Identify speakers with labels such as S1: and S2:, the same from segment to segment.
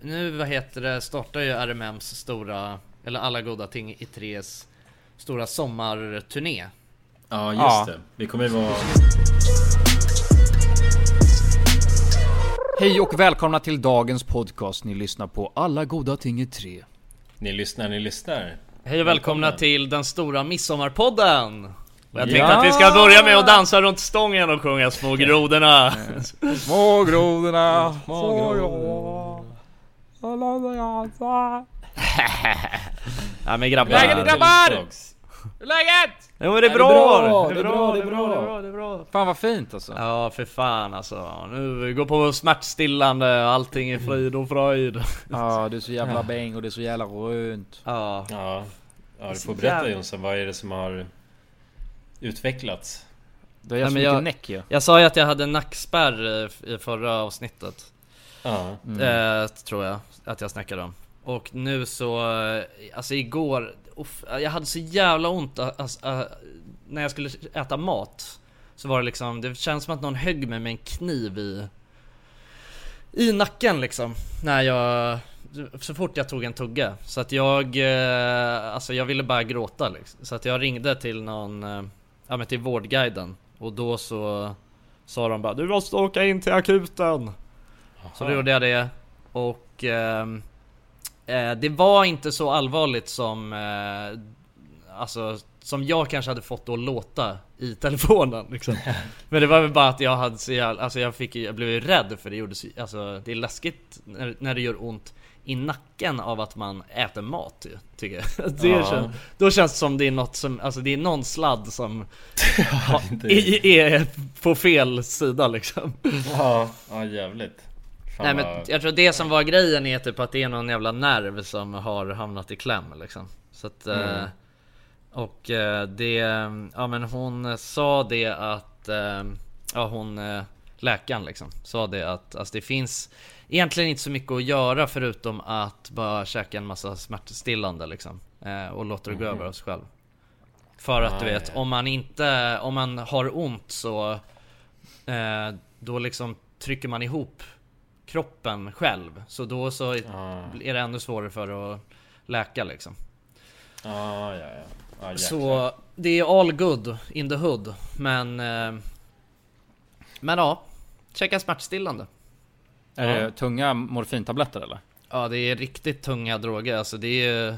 S1: nu vad heter det, startar ju RMMs stora, eller alla goda ting i tres stora sommarturné.
S2: Ja, just
S3: Ja.
S2: det. Vi kommer ju vara...
S3: Hej och välkomna till dagens podcast. Ni lyssnar på Alla goda ting är tre.
S2: Ni lyssnar, ni lyssnar.
S1: Hej och välkomna till den stora midsommarpodden! Och jag tänkte
S3: Ja!
S1: att vi ska börja med att dansa runt stången och sjunga Små grodorna.
S3: Små grodorna,
S2: små
S1: Nej men grabbar.
S3: Läget är grabbar! Hur är läget?
S1: Jo men det är
S2: bra,
S1: bra!
S2: det är bra, det är bra.
S1: det är bra, det är bra.
S3: Fan vad fint alltså.
S1: Ja för fan alltså. Nu går på smärtstillande allting är frid och fröjd.
S3: Ja, det är så jävla bäng och det är så jävla runt.
S1: Ja.
S2: Ja. ja, du får
S1: Så
S2: berätta
S1: jävla-
S2: Jonsson. Vad är det som har utvecklats?
S3: Det är
S1: Nej,
S3: så
S1: men
S3: mycket
S1: jag-
S3: näck ju.
S1: Jag sa ju att jag hade en nackspärr eh, f- i förra avsnittet.
S2: Ja.
S1: Eh, tror jag att jag snackade om. Och nu så, eh, alltså igår, uff, jag hade så jävla ont a- alltså, eh, när jag skulle äta mat. Så var det liksom, det känns som att någon högg mig med en kniv i, i nacken liksom. När jag, så fort jag tog en tugga. Så att jag, eh, alltså jag ville bara gråta liksom. Så att jag ringde till någon, eh, ja men till Vårdguiden. Och då så sa de bara du måste åka in till akuten. Så då gjorde jag det och ehm, eh, det var inte så allvarligt som eh, alltså som jag kanske hade fått då låta i telefonen liksom. Men det var väl bara att jag hade så jävla, alltså jag fick ju- jag blev ju rädd för det gjorde så, alltså det är läskigt när, när det gör ont i nacken av att man äter mat ju, tycker jag. Det
S2: Ja.
S1: känns, då känns det som det är något som, alltså det är någon sladd som
S2: det-
S1: är, är på fel sida liksom.
S2: Ja, ja jävligt. Fan
S1: Nej men
S2: vad-
S1: jag tror det som var grejen är typ att det är någon jävla nerv som har hamnat i kläm liksom. Så att, eh, Och eh, det, ja men hon eh, sa det att, eh, ja hon eh, läkaren liksom sa det att alltså, det finns egentligen inte så mycket att göra förutom att bara käka en massa smärtstillande liksom. Eh, och låta det gå över av sig själv. För att du
S2: Ah,
S1: vet,
S2: ja.
S1: om man inte, om man har ont så eh, då liksom trycker man ihop kroppen själv. Så då så
S2: Ja,
S1: är det ännu svårare för att läka liksom.
S2: ja, ja. ja. ja jäklar.
S1: Så det är all good in the hood. Men... Eh, men ja. Käka smärtstillande.
S3: Är det tunga morfintabletter eller?
S1: Ja det är riktigt tunga droger alltså det är ju...
S2: Är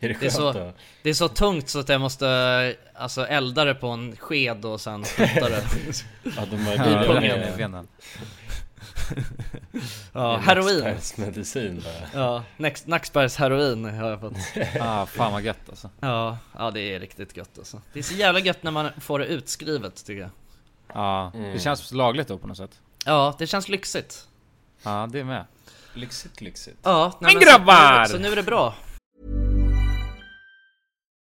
S2: det skönt
S1: Det är så-
S2: då?
S1: Det är så tungt så att jag måste alltså elda det på en sked och sen skjuta det.
S2: Ja, de har eh,
S1: Ja,
S2: börjat
S1: pungen.
S2: med-
S1: Ja,
S2: med
S1: heroin.
S2: Nacksbergsmedicin bara.
S1: Ja, Nax- Nacksbergs heroin har jag fått.
S3: Ah, fan vad gött alltså.
S1: Ja, ja det är riktigt gött alltså. Det är så jävla gött när man får det utskrivet tycker jag.
S3: Ja,
S2: Mm.
S3: det känns lagligt då på något sätt.
S1: Ja, det känns lyxigt.
S3: Ja, det är med.
S2: Lyxigt, lyxigt.
S1: Ja, nej,
S3: Men
S1: så-
S3: grabbar!
S1: Så, nu är det bra.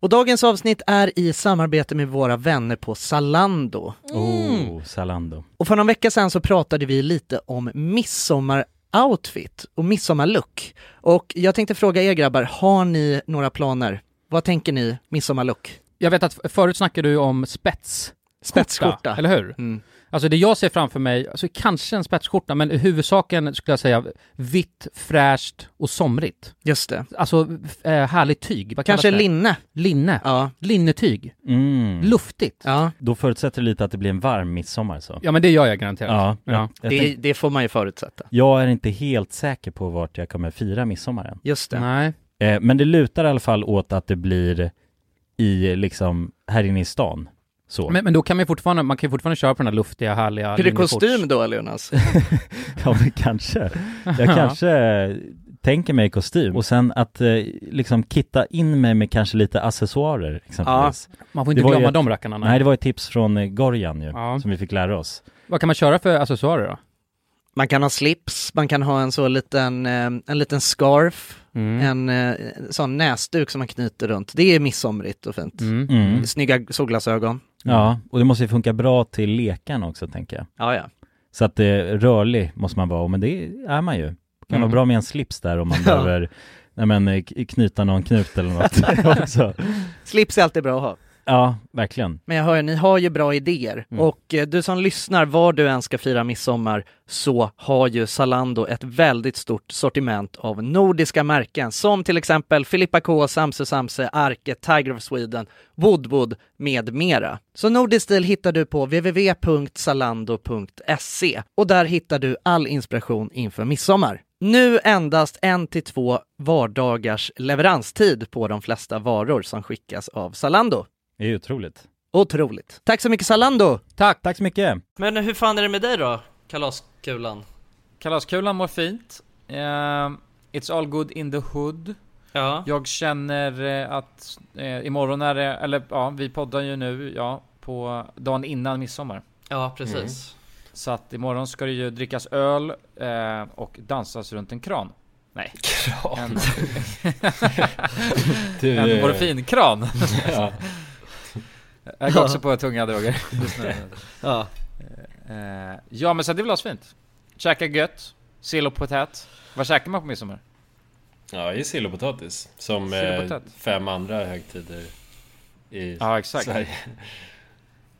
S1: Och dagens avsnitt är i samarbete med våra vänner på Zalando.
S4: Oh, Zalando.
S1: Och för någon vecka sedan så pratade vi lite om midsommaroutfit och midsommarlook. Och jag tänkte fråga er grabbar, har ni några planer? Vad tänker ni midsommarlook?
S5: Jag vet att f- förut snackade du om spets.
S1: Spetsskjorta.
S5: Eller hur?
S1: Mm.
S5: Alltså det jag ser framför mig, alltså kanske en spetsskjorta, men i huvudsaken skulle jag säga vitt, fräscht och somrigt.
S6: Just det.
S5: Alltså eh, härligt tyg. Vad kallas
S6: Kanske
S5: det?
S6: linne.
S5: Linne.
S6: Ja.
S5: Linnetyg.
S4: Mm.
S5: Luftigt. Ja.
S6: Ja.
S4: Då förutsätter det lite att det blir en varm midsommar så.
S5: men det gör jag garanterat. Ja.
S4: Ja. Jag,
S6: Det,
S4: tänk,
S6: det får man ju förutsätta.
S4: jag är inte helt säker på vart jag kommer fira midsommaren.
S6: Just det.
S5: Nej.
S4: Eh, men det lutar i alla fall åt att det blir i, liksom, här inne i stan. Så.
S5: Men, men då kan man ju fortfarande, man kan ju fortfarande köra på den här luftiga, härliga
S6: Blir det
S5: linnekorts-
S6: kostym då, Jonas?
S4: Ja, men kanske. Jag kanske tänker mig kostym och sen att eh, liksom kitta in mig med kanske lite accessoarer exempelvis.
S5: Man får inte
S4: Det var ju
S5: glömma
S4: ett-
S5: de rackarna.
S4: Nej, det var ett tips från eh, Gorjan ju,
S5: Ja.
S4: som vi fick lära oss.
S5: Vad kan man köra för accessoarer då?
S6: Man kan ha slips, man kan ha en så liten, eh, en liten scarf,
S5: Mm.
S6: en eh, sån näsduk som man knyter runt. Det är midsomrigt och fint.
S5: Mm.
S4: Mm.
S6: Snygga solglasögon.
S4: Ja, och det måste ju funka bra till lekarna också tänker jag.
S6: Mm. Ja, ja.
S4: Så att eh, rörlig måste man vara, men det är man ju. kan
S5: Mm.
S4: vara bra med en slips där om man
S6: Ja.
S4: behöver nej, men, eh, k- knyta någon knut eller något också.
S6: Slips är alltid bra att ha.
S4: Ja, verkligen.
S6: Men jag hör, ni har ju bra idéer.
S4: Mm.
S6: Och eh, du som lyssnar, var du än ska fira midsommar så har ju Zalando ett väldigt stort sortiment av nordiska märken som till exempel Filippa K, Samse Samse, Arke, Tiger of Sweden, Woodwood med mera. Så nordisk stil hittar du på www.zalando.se och där hittar du all inspiration inför midsommar. Nu endast en till två vardagars leveranstid på de flesta varor som skickas av Zalando.
S4: Det är ju otroligt.
S6: Otroligt. Tack så mycket Zalando!
S4: Tack! Tack så mycket!
S1: Men hur fan är det med dig då? Kalaskulan?
S3: Kalaskulan mår fint. Eh, it's all good in the hood.
S1: Ja.
S3: Jag känner eh, att eh, imorgon är det, eller ja, vi poddar ju nu, ja, på dagen innan midsommar.
S1: Ja, precis.
S3: Så att imorgon ska det ju drickas öl eh, och dansas runt en kran. Nej. Kran? En,
S2: Du,
S3: en
S2: eh,
S3: morfinkran.
S2: ja.
S3: Jag går också på tunga droger just nu.
S1: Ja.
S3: Eh, ja men så det är väl asfint. Käka gött, sill och potät. Vad käkar man på midsommar?
S2: ja, det är sill och potatis. Som
S3: Sill och
S2: eh,
S3: potatis.
S2: fem andra högtider i
S3: Ja exakt.
S2: Sverige.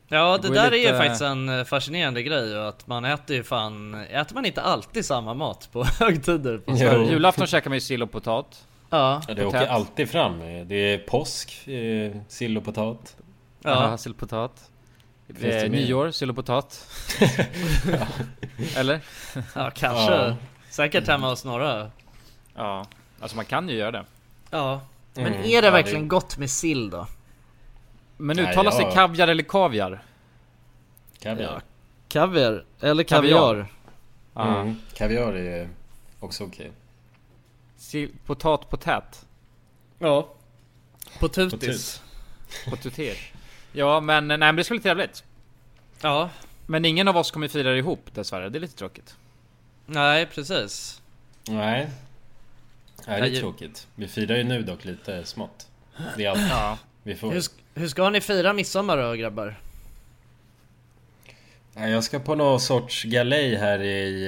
S1: Ja,
S3: Det
S1: det,
S3: går ju
S1: där är ju
S3: lite-
S1: faktiskt en eh, fascinerande grej ju, att man äter ju fan, äter man inte alltid samma mat på högtider? På
S2: Jo.
S3: Så julafton käkar man ju sill och potat.
S1: Ja,
S2: Ja, det åker
S3: Potat.
S2: alltid fram. eh, Det är påsk, eh, sill och potat.
S3: Ja.
S1: ja.
S3: Sill och potat.
S2: det mer?
S3: Eh, nyår, sill och potat. Eller?
S1: ja kanske.
S2: Ja.
S1: Säkert hemma hos några.
S3: Ja. Alltså man kan ju göra det.
S1: Ja. Men
S2: Mm,
S1: är
S2: ja,
S1: det
S2: det-
S1: verkligen gott med sill då?
S3: Men
S2: Nej,
S3: uttalas
S2: jag-
S3: det kaviar eller kaviar?
S2: Kaviar.
S1: Kaviar, eller
S3: Kaviar.
S1: kaviar.
S3: Ja. Ah.
S2: Mm. Kaviar är också okej.
S3: Sill, potat, potät.
S1: Ja. På tutis.
S2: Potis.
S3: Potuter. ja men nej men det ska bli trevligt.
S1: Ja,
S3: Men ingen av oss kommer fira det ihop dessvärre, det är lite tråkigt.
S1: nej precis.
S2: Nej.
S1: Nej,
S2: Nej, det
S1: ju-
S2: är tråkigt. Vi firar ju nu dock lite smått. Det är allt
S3: Ja.
S2: vi får.
S1: Hur, sk- hur ska ni fira midsommar då grabbar?
S2: Nej, jag ska på någon sorts galej här i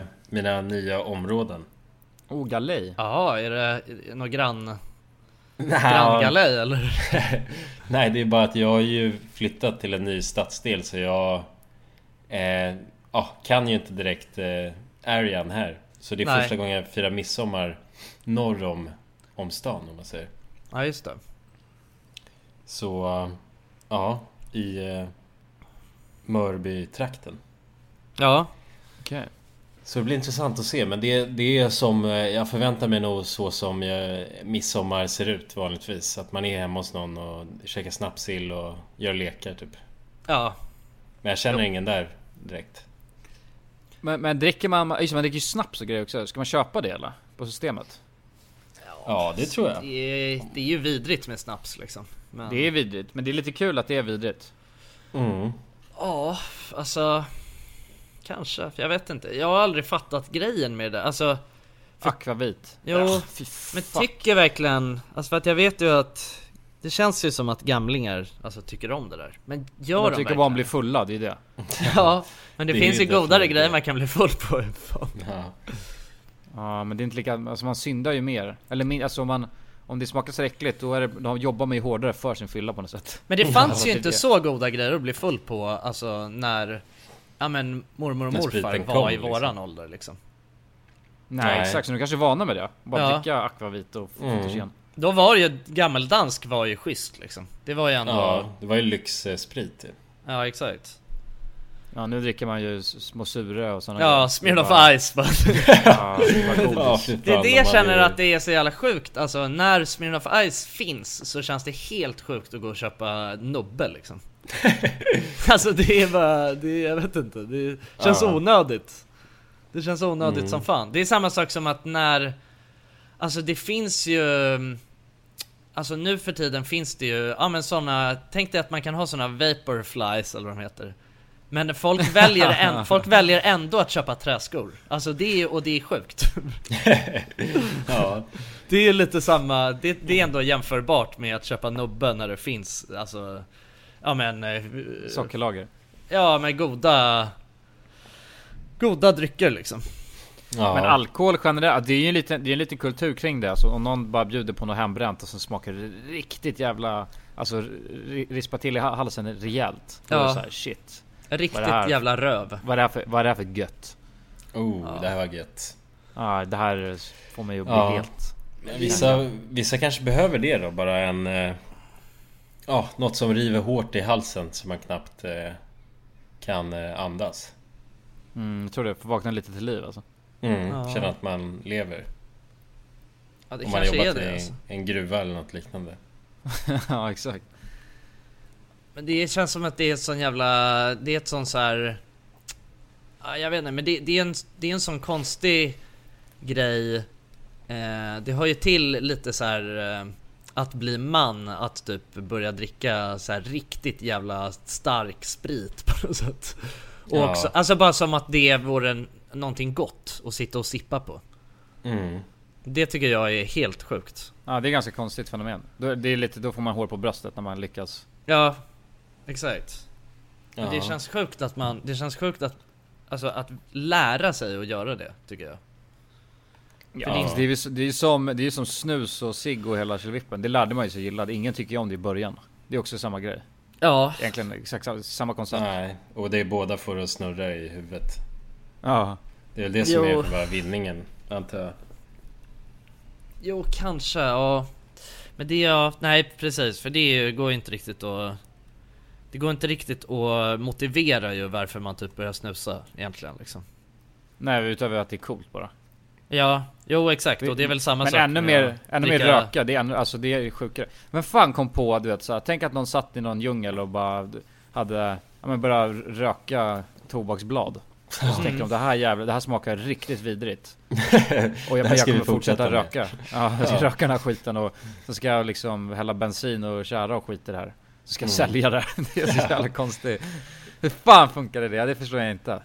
S2: eh, mina nya områden.
S3: Oh, galej.
S1: Jaha, är det är det någon grann,
S2: Nej,
S1: granngalej eller?
S2: nej, det är bara att jag har ju flyttat till en ny stadsdel så jag eh, ja, kan ju inte direkt eh, arean här. Så det är
S1: Nej.
S2: första gången jag firar midsommar norr om, om stan om man säger.
S1: Ja just det.
S2: Så eh, ja, i eh, Mörbytrakten.
S1: Ja,
S3: Okej.
S2: Så det blir intressant att se men det, det är som eh, jag förväntar mig nog så som eh, midsommar ser ut vanligtvis. Att man är hemma hos någon och käkar snapsill och gör lekar typ.
S1: ja.
S2: Men jag känner ingen där direkt.
S3: Men, men dricker man, just det, man dricker ju snaps och grejer också, ska man köpa det eller? På systemet?
S2: Ja det tror
S1: Det
S2: jag.
S1: är, det är ju vidrigt med snaps liksom. Men...
S3: Det är vidrigt, men det är lite kul att det är vidrigt.
S2: Mm.
S1: Ja, alltså... Kanske, jag vet inte. Jag har aldrig fattat grejen med det. Alltså,
S3: Akvavit.
S1: jo,
S3: Ah, Fy
S1: men
S3: fuck.
S1: tycker verkligen... Alltså för att jag vet ju att... Det känns ju som att gamlingar alltså, tycker om det där. Men gör de
S3: Man tycker
S1: verkligen
S3: bara om bli fulla, det är det.
S1: Ja, men det,
S2: Det är
S1: finns
S2: ju
S1: ju godare
S2: definitivt.
S1: grejer man kan bli full på. Fan.
S2: Ja.
S3: Ja men det är inte lika, alltså man syndar ju mer. Eller min, alltså om man, om det smakar så äckligt då, är det, då jobbar man ju hårdare för sin fylla på något sätt.
S2: typ
S1: Men det fanns ju
S3: det
S1: inte
S3: är det.
S1: så goda grejer att bli full på, alltså när... ja men mormor och
S2: När
S1: morfar
S2: spriten
S1: var
S2: kom,
S1: i våran
S2: liksom.
S1: ålder liksom.
S3: Nej,
S2: Nej.
S3: exakt, så du kanske är vana med det? Bara
S1: Ja.
S3: dricka akvavit och
S2: Mm.
S3: fotogen.
S1: Då var ju gammeldansk var ju schysst liksom. Det var ju ändå...
S2: Ja,
S1: Ja,
S2: det var ju lyxsprit typ. ju.
S1: exakt.
S3: Ja, nu dricker man ju s- små sura och sådana
S1: Ja, Smirnoff
S3: Bara-
S1: Ice bara.
S3: Ja, bara godis.
S2: Ja, fy fan,
S1: Det är
S2: typ de
S1: det jag
S2: hade
S1: känner
S2: ju-
S1: att det är så jävla sjukt. Alltså när Smirnoff Ice finns så känns det helt sjukt att gå och köpa Nobbe liksom. alltså det är bara, det, jag vet inte. Det känns
S2: Ja. Mm.
S1: onödigt. Det känns onödigt som fan. Det är samma sak som att när, alltså det finns ju Alltså nu för tiden finns det ju, ja men såna, tänk dig att man kan ha såna vaporflies eller vad de heter. Men folk väljer, en, folk väljer ändå att köpa träskor. Alltså det är, och det är sjukt.
S2: Ja,
S1: Det är lite samma, det, det är ändå jämförbart med att köpa nubbe när det finns, alltså Ja men, eh,
S3: Sockerlager.
S1: ja men goda Goda drycker liksom
S2: ja.
S3: Men alkohol generellt, det är ju en liten, det är en liten kultur kring det. Alltså, om någon bara bjuder på något hembränt och så smakar det riktigt jävla... Alltså ri- rispa till i ha- halsen rejält. Då är
S1: Ja.
S3: det så här, shit. Vad är det
S1: Riktigt
S3: här?
S1: jävla röv
S3: Vad är det här för, vad är det här för gött?
S2: Oh, det här var gött.
S3: Ja, det här får mig att bli
S2: Ja.
S3: helt...
S2: Men Vissa, vissa kanske behöver det då, bara en... eh, Ja, något som river hårt i halsen så man knappt eh, kan eh, andas.
S3: Mm, jag tror det. Får vakna lite till liv alltså.
S2: Mm,
S1: Ja.
S2: Känna att man lever.
S1: ja, Det
S2: Om man har
S1: kanske är
S2: jobbat
S1: det
S2: i
S1: alltså.
S2: en gruva eller något liknande.
S3: ja, exakt.
S1: Men det känns som att det är ett sån jävla, det är ett sån så här. Ja, jag vet inte men det, det, är en, det är en sån konstig grej eh, Det hör ju till lite så här eh, Att bli man, att typ börja dricka så här riktigt jävla stark sprit på något sätt Och
S2: Ja.
S1: också, alltså bara som att det vore en, någonting gott att sitta och sippa på
S2: Mm.
S1: Det tycker jag är helt sjukt
S3: Ja, det är ganska konstigt fenomen. Då, det är lite, då får man hår på bröstet när man lyckas.
S1: Ja, exakt
S2: Ja.
S1: Det känns sjukt att man, det känns sjukt att, alltså att lära sig att göra det, tycker jag.
S3: Ja. Det, är, ju så- det, är ju som, det är ju som snus och cigg och hela tjolivippen. Det lärde man ju sig gilla. Ingen tycker ju om det i början. Det är också samma grej.
S1: Ja,
S3: Egentligen exakt sa- samma koncept.
S2: Nej, och det är båda får att snurra i huvudet.
S3: Ja.
S2: Det är väl det som
S1: Jo.
S2: är själva vinningen, antar jag.
S1: jo kanske, ja. Men det, ja, nej precis, för det går ju inte riktigt att... Det går inte riktigt att motivera ju varför man typ börjar snusa egentligen liksom.
S3: Nej, utöver att det är coolt bara.
S1: Ja, jo exakt och det är väl samma
S3: Men
S1: sak
S3: ännu
S1: med
S3: mer,
S1: att
S3: ännu mer
S1: dricka-
S3: röka. Det är ännu, alltså det är ju sjukare. Men fan kom på du vet så här, Tänk att någon satt i någon djungel och bara d- hade, ja men bara röka tobaksblad. Och så tänkte de det här jävla, det här smakar riktigt vidrigt. Och jag,
S2: här
S3: men jag
S2: ska vi
S3: kommer fortsätta
S2: fortsätta
S3: röka. Ja, jag ska röka den här skiten och så ska jag liksom hälla bensin och tjära och skit i det här. Så ska jag sälja det här. Det är så jävla konstigt. Hur fan funkar det? Det förstår jag inte.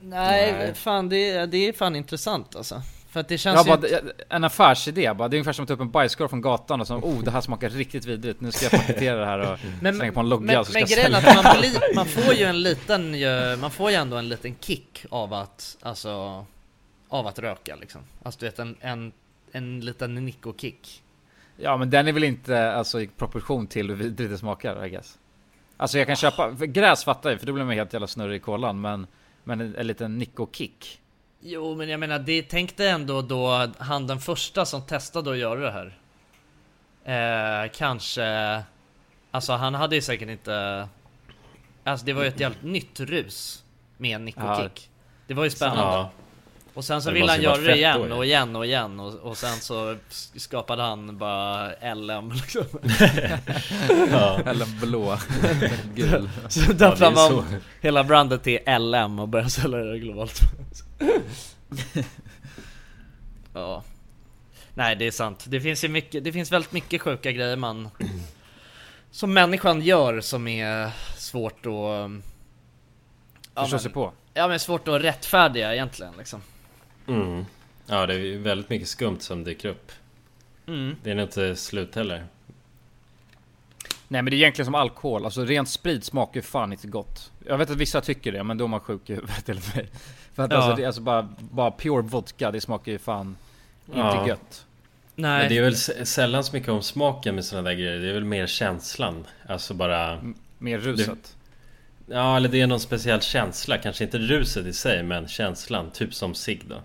S1: Nej,
S2: Nej.
S1: fan det, det är fan intressant alltså. För att det
S3: Ja,
S1: känns
S3: bara,
S1: ju...
S3: d- en affärsidé bara. Det är ungefär som att ta upp en bajskorv från gatan och så oh det här smakar riktigt vidrigt. Nu ska jag paketera det här och slänga på en logga
S1: men,
S3: så ska
S1: men
S3: jag
S1: grejen är
S3: sälja.
S1: att man, blir, man får ju en liten, ju- man får ju ändå en liten kick av att, alltså, av att röka liksom. Alltså du vet en, en, en liten nikokick.
S3: Ja men den är väl inte alltså, i proportion till hur vidrigt det smakar I guess. Alltså jag kan köpa, för gräs fattar jag för då blir man helt jävla snurrig i kolan men men en, en liten nico-kick.
S1: Jo men jag menar, det, tänk dig ändå då han den första som testade att göra det här. Eh, kanske, alltså han hade ju säkert inte, alltså det var ju ett helt nytt rus med en nikokick. Det var ju spännande.
S2: Ja,
S1: Och sen så
S2: Det
S1: ville
S2: måste
S1: han
S2: ju vara
S1: göra det
S2: fett
S1: igen
S2: då,
S1: och
S2: ju.
S1: igen och igen och, och sen så sk- skapade han bara LM liksom.
S2: ja.
S3: Eller en blå. Eller Gul.
S1: Så
S2: ja det
S1: döpte
S2: är
S1: han
S2: så.
S1: om hela brandet till LM och började sälja det globalt. ja. Nej det är sant. Det finns ju mycket, det finns väldigt mycket sjuka grejer man som människan gör som är svårt att... Ja,
S3: Förstå
S1: men,
S3: sig på.
S1: ja men svårt att rättfärdiga egentligen liksom.
S2: Mm. Ja, det är ju väldigt mycket skumt som dyker upp.
S1: Mm.
S2: Det är nog inte slut heller.
S3: Nej men det är egentligen som alkohol, alltså rent sprit smakar ju fan inte gott. Jag vet att vissa tycker det men då är man sjuk i huvudet eller mig. För att
S1: Ja.
S3: alltså, det är alltså bara, bara pure vodka, det smakar ju fan
S2: Ja.
S3: inte gött.
S1: Nej.
S2: Men det är väl s- sällan så mycket om smaken med sådana där grejer. Det är väl mer känslan. Alltså bara...
S3: Mer ruset.
S2: Ja, eller det är någon speciell känsla. Kanske inte ruset i sig, men känslan. Typ som cigg då.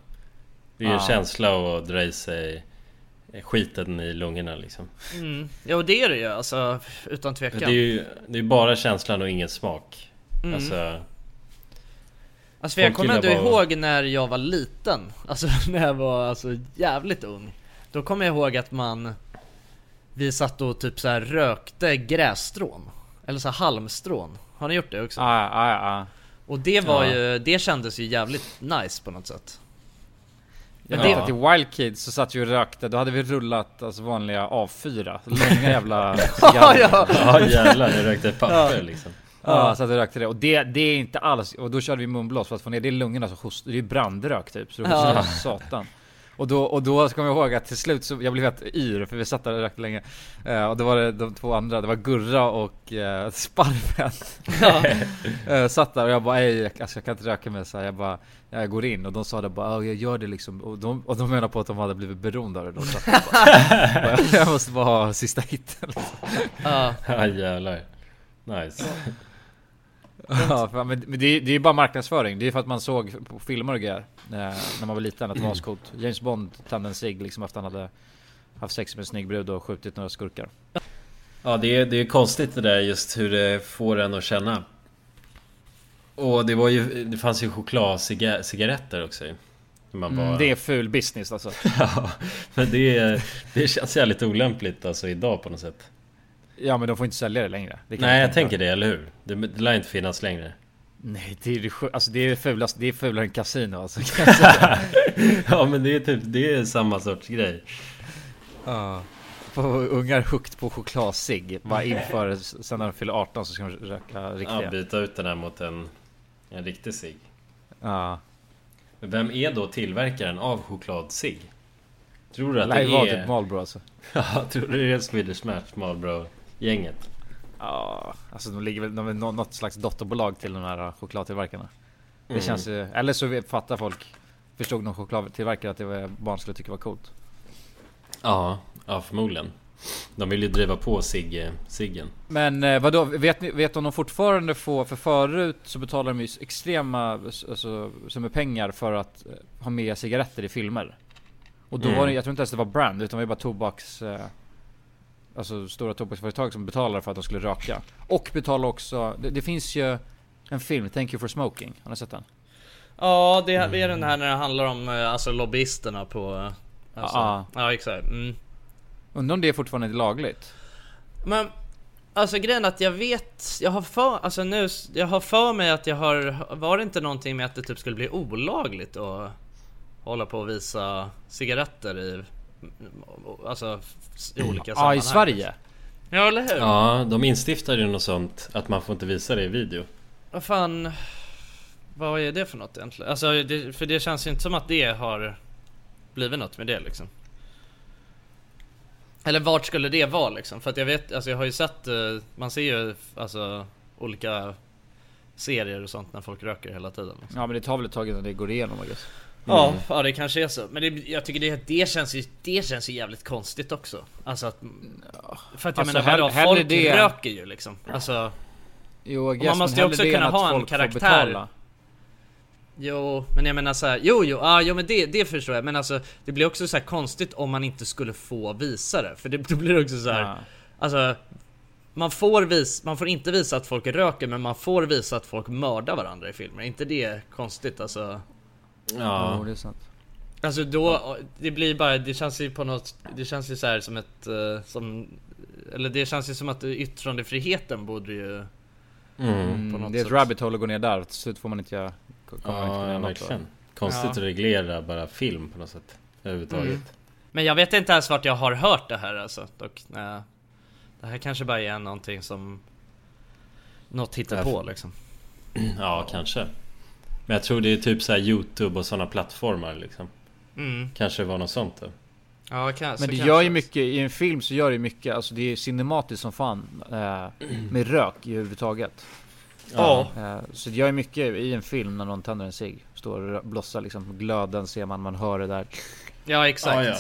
S2: Det är ju en
S3: Ja.
S2: känsla att dra i sig skiten i lungorna liksom.
S1: Mm. Ja och det är det ju alltså utan
S2: Det
S1: tvekan.
S2: är ju det är bara känslan och ingen smak.
S1: Mm.
S2: Alltså,
S1: Alltså för jag
S2: Folk
S1: kommer ändå
S2: gillar bara-
S1: ihåg när jag var liten Alltså när jag var alltså jävligt ung Då kommer jag ihåg att man Vi satt och typ så här rökte grässtrån Eller så här halmstrån Har ni gjort det också?
S3: Ja, ja, ja.
S1: Och det var
S2: Ja.
S1: ju, det kändes ju jävligt nice på något sätt
S3: Jag
S2: Ja.
S3: vet att i Wild Kids så satt vi och rökte, då hade vi rullat alltså vanliga A4, långa jävla cigarrer. ja,
S2: ja jävlar, jag rökte papper liksom.
S3: ja. satt och rökte det. Och det, det är inte alls, och då körde vi munblås för att få ner det i lungorna så host, det är brandrök typ, så det hostar som satan. Och då, och då kommer jag ihåg att till slut så, jag blev helt yr för vi satt där och rökte länge. Eh, och då var det de två andra, det var Gurra och eh, Sparven. Eh, satt där och jag bara, ej jag, alltså, jag kan inte röka mer så här. Jag bara, jag går in och de sa det bara, "Ja, jag gör det liksom. Och de, och de menar på att de hade blivit beroende av det. De satt där och bara, jag måste bara ha sista hitten.
S1: Ja,
S2: Ja jävlar. Nice.
S3: Ja, fan, men men det, är- det är ju bara marknadsföring. Det är ju för att man såg på filmer och grejer eh, när man var liten att det var ascoolt. James Bond tände en cigg liksom efter han hade haft sex med en snygg brud och skjutit några skurkar.
S2: Ja det är, det är konstigt det där just hur det får en att känna. Och det var ju, det fanns ju chokladcigaretter också ju. När Man bara,
S3: Det är ful business alltså.
S2: ja, men det, är- det känns jävligt olämpligt alltså idag på något sätt.
S3: Ja men de får inte sälja det längre. Det kan
S2: Nej jag tänker det, eller hur? Det, det lär inte finnas längre.
S3: Nej det är det sju- alltså det är fulast, det är fulare än kasino alltså.
S2: Ja men det är typ, det är samma sorts grej.
S3: Ja. Få ungar hooked på chokladcigg. Bara inför, sen när de fyller 18 så ska de röka
S2: Ja,
S3: riktiga.
S2: byta ut den här mot en, en riktig cigg.
S3: Ja.
S2: Men vem är då tillverkaren av chokladcigg? Tror du att
S3: Lär ju vara
S2: det
S3: typ
S2: är...
S3: Marlboro alltså.
S2: Ja, tror du det är Swedish Match Marlboro-gänget?
S3: Ja, alltså de ligger väl, de är nå- något slags dotterbolag till de här äh, chokladtillverkarna. Det känns ju, eller så vet- fattar folk, förstod någon chokladtillverkare att det var, barn skulle tycka var coolt.
S2: Ja, ja förmodligen. De vill ju driva på cigg, ciggen.
S3: Men eh, vadå, vet ni, vet om de fortfarande får, för förut så betalar de ju extrema, alltså, som är pengar för att eh, ha med cigaretter i filmer. Och då
S2: Mm.
S3: var det, jag tror inte ens det var brand, utan det var bara tobaks, eh, alltså stora tobaksföretag som betalar för att de skulle röka. Och betalar också, det, det finns ju en film, Thank you for smoking, har ni sett den?
S1: ja det är det är den här när det handlar om eh, alltså lobbyisterna på eh, alltså,
S3: Ja.
S1: Ja exakt mm.
S3: Undrar om det är fortfarande lagligt?
S1: Men Alltså grejen är att jag vet, jag har för, alltså nu, jag har för mig att jag har, var det inte någonting med att det typ skulle bli olagligt att hålla på och visa cigaretter i, alltså i olika
S3: Ja,
S1: sammanhang?
S3: i Sverige?
S1: Ja eller hur?
S2: Ja, de instiftade ju något sånt att man får inte visa det i video.
S1: Vad fan, vad är det för något egentligen? Alltså det, för det känns ju inte som att det har blivit något med det liksom. Eller vart skulle det vara liksom? För att jag vet, alltså jag har ju sett, eh, man ser ju alltså olika serier och sånt när folk röker hela tiden. Liksom.
S3: Ja men det tar väl ett tag innan det går igenom I guess.
S1: Ja, ja det kanske är så. Men det, jag tycker det, det, känns ju, det känns ju jävligt konstigt också. Alltså att... För att jag
S3: Alltså,
S1: menar
S3: hell-
S1: vadå,
S3: hellre
S1: folk
S3: det-
S1: röker ju liksom. Alltså,
S3: Jo, I guess,
S1: man måste ju
S3: men hellre
S1: också
S3: det
S1: kunna
S3: än att
S1: ha en
S3: folk får
S1: karaktär.
S3: betala.
S1: Jo, men jag menar såhär, jo jo, ah, jo men det, det förstår jag. Men alltså det blir också så här konstigt om man inte skulle få visa det. För det, då blir det också så här,
S3: Ja.
S1: alltså man får, vis, man får inte visa att folk röker men man får visa att folk mördar varandra i filmer. Är inte det konstigt alltså?
S2: Ja,
S3: Jo, det är sant.
S1: Alltså då, det blir bara, det känns ju på något, det känns ju så här som ett, eh, som, eller det känns ju som att yttrandefriheten borde ju
S2: mm.
S1: på
S3: Mm,
S1: något
S3: det är ett
S1: sätt.
S3: rabbit hole att gå ner där, till slut får man inte göra... kommer man inte kunna
S2: ja
S3: göra något då.
S2: verkligen. Konstigt att reglera bara film på något sätt. Överhuvudtaget.
S1: Men jag vet inte ens vart jag har hört det här alltså. Dock, nej. Det här kanske bara är någonting som något hittar på liksom.
S2: Ja, kanske. Men jag tror det är typ så här YouTube och sådana plattformar liksom.
S1: Mm.
S2: Kanske var något sånt då.
S1: Ja, kan, så
S3: Men det
S1: kanske.
S3: gör ju mycket, i en film så gör det ju mycket, alltså det är cinematiskt som fan eh, Med rök i överhuvudtaget
S1: Ja.
S3: eh, Så det gör ju mycket i en film när någon tänder en cigg Står och rö- blossar liksom, glöden ser man, man hör det där
S1: Ja, exakt.
S2: Ja, ja.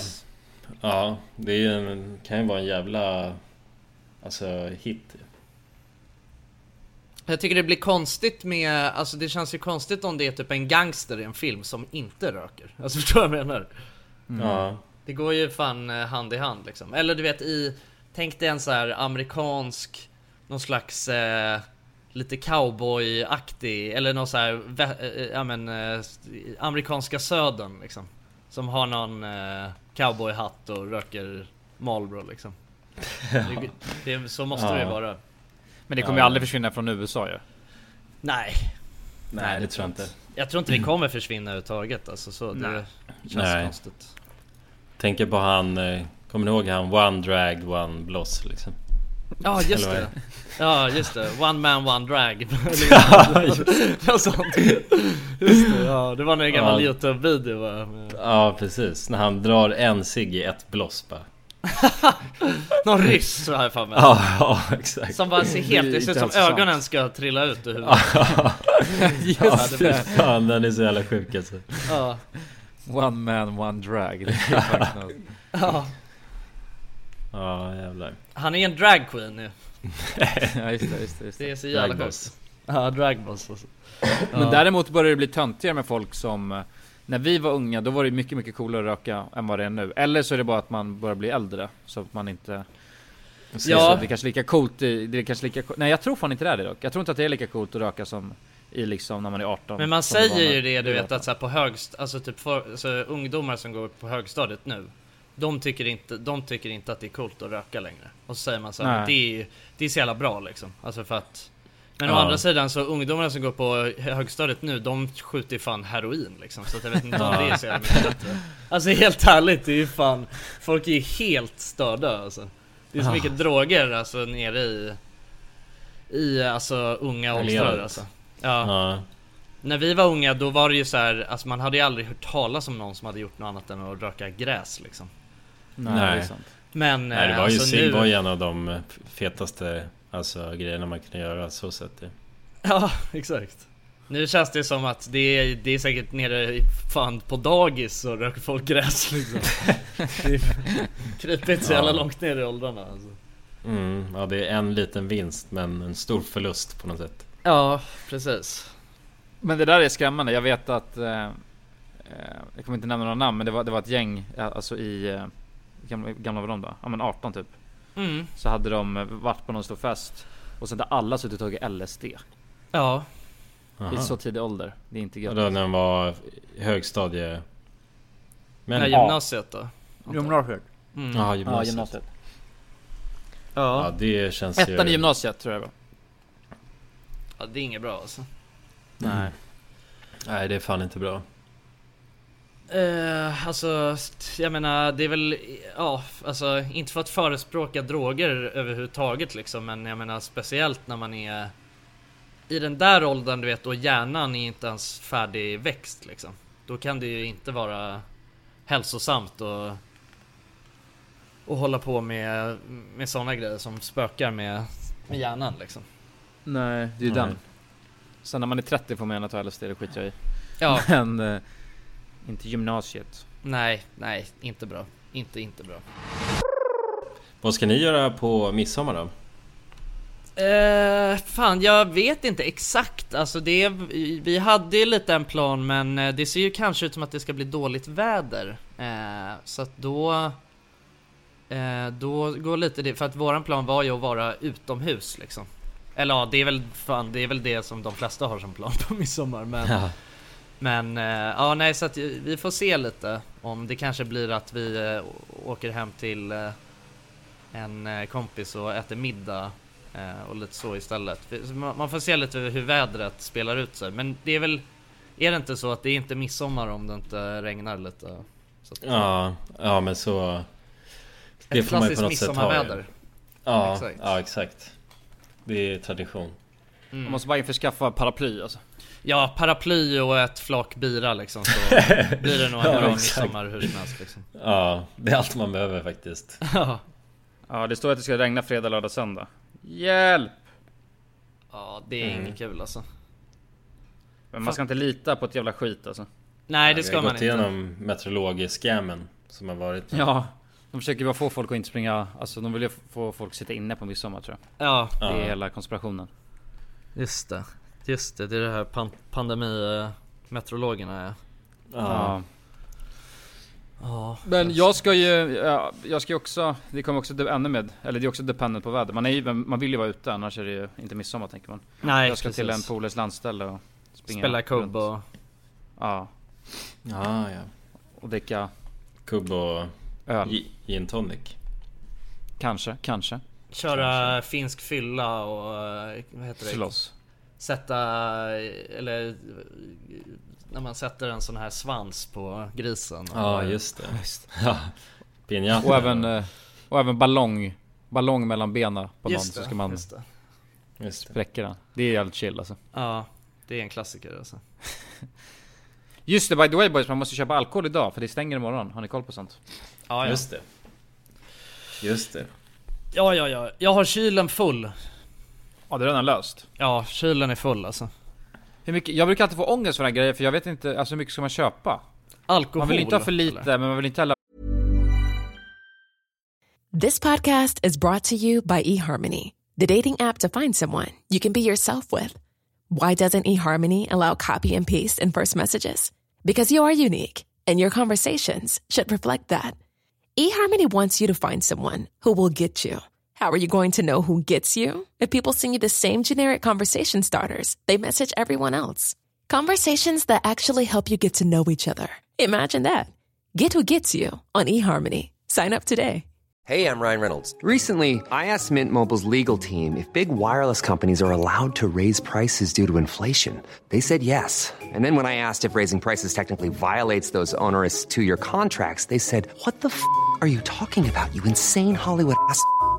S2: Ja, det är ju en, kan ju vara en jävla alltså, hit.
S1: Jag tycker det blir konstigt med, alltså det känns ju konstigt om det är typ en gangster i en film som inte röker. Alltså förstår du vad jag menar?
S2: Ja.
S1: Det går ju fan eh, hand i hand liksom. Eller du vet i, tänk dig en så här amerikansk, någon slags eh, lite cowboy-aktig, eller någon så här, vä- eh, ja men, eh, amerikanska södern liksom. Som har någon eh, cowboyhatt och röker Marlboro liksom. Det, det, så måste det ju
S2: Ja.
S1: vara.
S3: Men det kommer ju
S2: Ja.
S3: aldrig försvinna från USA ju.
S1: Nej,
S2: Nej, det tror jag inte.
S1: jag tror inte det kommer försvinna överhuvudtaget alltså, så det
S3: Nej.
S1: känns
S2: Nej.
S1: konstigt.
S2: Tänker på han... eh, Kommer ni ihåg han? One drag, one bloss liksom.
S1: Ja just
S2: Eller vad är
S1: det. Ja just det. One man one drag. Eller något sånt. Just det, ja. Det var en gammal
S2: Ja.
S1: Youtube-video va? Med-
S2: Ja, precis. När han drar en cigg i ett bloss bara.
S1: Någon ryss så här för mig.
S2: Ja, ja exakt.
S1: Som bara ser helt, det
S3: inte
S1: ser ut som
S3: alls sant.
S1: ögonen ska trilla ut ur huvudet.
S3: Just
S2: Fy fan, den är så jävla sjuk alltså.
S1: Ja.
S3: One man, one drag. Det är faktiskt något.
S1: Ja.
S2: Ja, jävlar.
S1: Han är en drag queen nu.
S3: ja, just det, just det, just det.
S1: Det är så jävla sjukt.
S2: Dragboss.
S1: Ja, dragboss alltså.
S3: Men däremot börjar det bli töntigare med folk som eh, när vi var unga, då var det mycket, mycket coolare att röka än vad det är nu. Eller så är det bara att man börjar bli äldre. Så att man inte...
S1: Ja.
S3: Så det är kanske lika coolt i, det är kanske lika co- Nej jag tror fan inte det är det dock. Jag tror inte att det är lika coolt att röka som i liksom när man är 18.
S1: Men man
S3: som var
S1: säger ju
S3: när
S1: det du
S3: vi var
S1: vet
S3: 18.
S1: att så här, på högst, alltså typ för, alltså, ungdomar som går på högstadiet nu. De tycker, inte, de tycker inte att det är coolt att röka längre. Och så säger man så här,
S3: Nej.
S1: men det är, ju- det är så jävla bra liksom. Alltså för att men å
S2: Ja.
S1: andra sidan så ungdomarna som går på högstadiet nu, de skjuter ju fan heroin liksom. Så att jag vet inte om det är så jävla mycket bättre. Alltså helt ärligt, det är ju fan, folk är ju helt störda alltså. Det är
S3: Ah.
S1: så mycket droger alltså nere i, i alltså unga
S2: Jag
S1: åldrar
S2: lever.
S1: alltså.
S2: Ja.
S1: När vi var unga då var det ju så här, alltså man hade ju aldrig hört talas om någon som hade gjort något annat än att röka gräs liksom.
S3: Nej,
S2: Nej.
S3: Det är sant.
S1: Men
S2: Nej, det
S1: eh,
S2: var ju
S1: alltså
S2: cigg var
S1: nu...
S2: ju en av de eh, fetaste alltså, grejerna man kunde göra så sett det.
S1: Ja, exakt. Nu känns det som att det är, det är säkert nere i, fan på dagis så röker folk gräs liksom. det är krypigt så jävla
S2: Ja.
S1: långt ner i åldrarna alltså.
S2: Mm, ja, det är en liten vinst men en stor förlust på något sätt.
S1: Ja, precis.
S3: Men det där är skrämmande. Jag vet att... Eh, eh, jag kommer inte nämna några namn men det var, det var ett gäng, eh, alltså i... Eh, gamla, gamla var de då? Ja men 18 typ.
S1: Mm,
S3: Så hade de eh, varit på någon stor fest. Och sen hade alla suttit och tagit LSD.
S1: ja.
S2: Aha.
S3: I så tidig ålder. Det är inte
S2: Och
S3: gött.
S2: då när den var högstadie... Men,
S1: När gymnasiet då.
S3: Gymnasiet.
S1: Mm.
S2: Ja,
S3: Ja,
S2: gymnasiet.
S3: gymnasiet.
S2: Ja,
S1: Ja.
S2: det känns ju...
S3: Ettan i gymnasiet tror jag det var.
S1: ja, det är inget bra alltså. Mm.
S3: Nej.
S2: Nej, det är fan inte bra.
S1: Eh, alltså, st- jag menar det är väl, ja, alltså inte för att förespråka droger överhuvudtaget liksom, men jag menar speciellt när man är i den där åldern du vet och hjärnan är inte ens färdigväxt liksom. Då kan det ju inte vara hälsosamt och, och hålla på med, med sådana grejer som spökar med, med hjärnan liksom.
S3: Nej, det är ju
S2: Nej.
S3: den. Sen när man är 30 får man gärna ta LSD, det skiter jag i.
S1: Ja,
S3: Men eh, inte gymnasiet.
S1: nej, nej, inte bra. Inte, inte bra.
S2: Vad ska ni göra på midsommar då?
S1: Eh, fan, jag vet inte exakt. Alltså det, vi hade ju lite en plan men eh, det ser ju kanske ut som att det ska bli dåligt väder. Eh, så att då... Eh, då går lite det, för att våran plan var ju att vara utomhus liksom. Eller ja, det är väl fan, det är väl det som de flesta har som plan på midsommar. Men,
S2: Ja.
S1: men eh, ja, nej så att vi vi får se lite om det kanske blir att vi eh, å- åker hem till eh, en eh, kompis och äter middag eh, och lite så istället. För- så Man man får se lite hur vädret spelar ut sig. Men det är väl, är det inte så att det är inte midsommar om det inte regnar lite? Så att,
S2: Ja, ja men så... Det
S1: ett
S2: får man ju
S1: klassiskt
S2: på något sätt ha ju.
S1: midsommarväder.
S2: Ja,
S1: Exakt.
S2: exakt. ja, exakt. Det är tradition.
S3: Man måste bara införskaffa paraply alltså.
S1: Ja, paraply och ett flak bira liksom så blir det nog en
S2: Ja,
S1: bra
S2: exakt.
S1: midsommar hur som helst liksom.
S2: Ja, det är allt man behöver faktiskt.
S1: Ja,
S3: Ja, det står att det ska regna fredag, lördag, söndag. Hjälp!
S1: ja det är
S2: Mm.
S1: inget kul alltså.
S3: Men man ska inte lita på ett jävla skit alltså.
S1: Nej det
S2: Vi
S1: ska
S2: har
S1: man
S2: gått
S1: inte.
S2: igenom meteorologiscammen som har varit.
S3: Ja. De försöker bara få folk att inte springa, alltså de vill ju få folk att sitta inne på midsommar tror jag.
S1: Ja,
S3: Det är
S2: Ja.
S3: hela konspirationen.
S1: Just det. Just det, det är det här pan- pandemimeteorologerna ja.
S3: Ja.
S1: Ja.
S3: Men jag ska ju, ja, jag ska ju också, det kommer också de- ännu med, eller det är också dependent på väder. Man, är ju, men man vill ju vara ute annars är det ju inte midsommar tänker man.
S1: Nej,
S3: jag ska till en
S1: precis.
S3: polares landställe och springa
S1: Spela
S3: runt.
S1: kubb och...
S3: Ja,
S7: Ja, ja.
S3: och dricka
S7: Kubb och
S3: öl.
S7: gi- gin tonic.
S3: Kanske, kanske.
S1: Köra finsk fylla och eh, vad heter det?
S3: Slåss.
S1: Sätta eller eh, när man sätter en sån här svans på grisen.
S7: Ja, just det. Ja. Pinjata.
S3: Och även, eh, och även ballong, ballong mellan benen på någon
S1: Just
S3: så
S1: det,
S3: ska man
S1: Just det.
S7: Just det.
S3: spräcka den. Det är jävligt chill alltså.
S1: Ja, det är en klassiker alltså.
S3: Just det, by the way boys, man måste köpa alkohol idag för det stänger imorgon. Har ni koll på sånt?
S1: Ja, ja.
S7: Just det. Just det.
S1: ja, ja, ja. Jag har kylen full.
S3: Ja, det är redan löst.
S1: Ja, kylen är full alltså.
S3: Hur mycket, jag brukar alltid få ångest för den här grejen för jag vet inte, alltså hur mycket ska man köpa?
S1: Alkohol.
S3: Man vill inte ha för lite,
S1: eller?
S3: men man vill inte heller
S6: This podcast is brought to you by eHarmony, the dating app to find someone you can be yourself with. Why doesn't eHarmony allow copy and paste in first messages? Because you are unique and your conversations should reflect that. eHarmony wants you to find someone who will get you. How are you going to know who gets you? If people send you the same generic conversation starters, they message everyone else. Conversations that actually help you get to know each other. Imagine that. Get who gets you on eHarmony. Sign up today.
S4: Hey, I'm Ryan Reynolds. Recently, I asked Mint Mobile's legal team if big wireless companies are allowed to raise prices due to inflation. They said yes. And then when I asked if raising prices technically violates those onerous two year contracts, they said, What the f are you talking about, you insane Hollywood ass? f-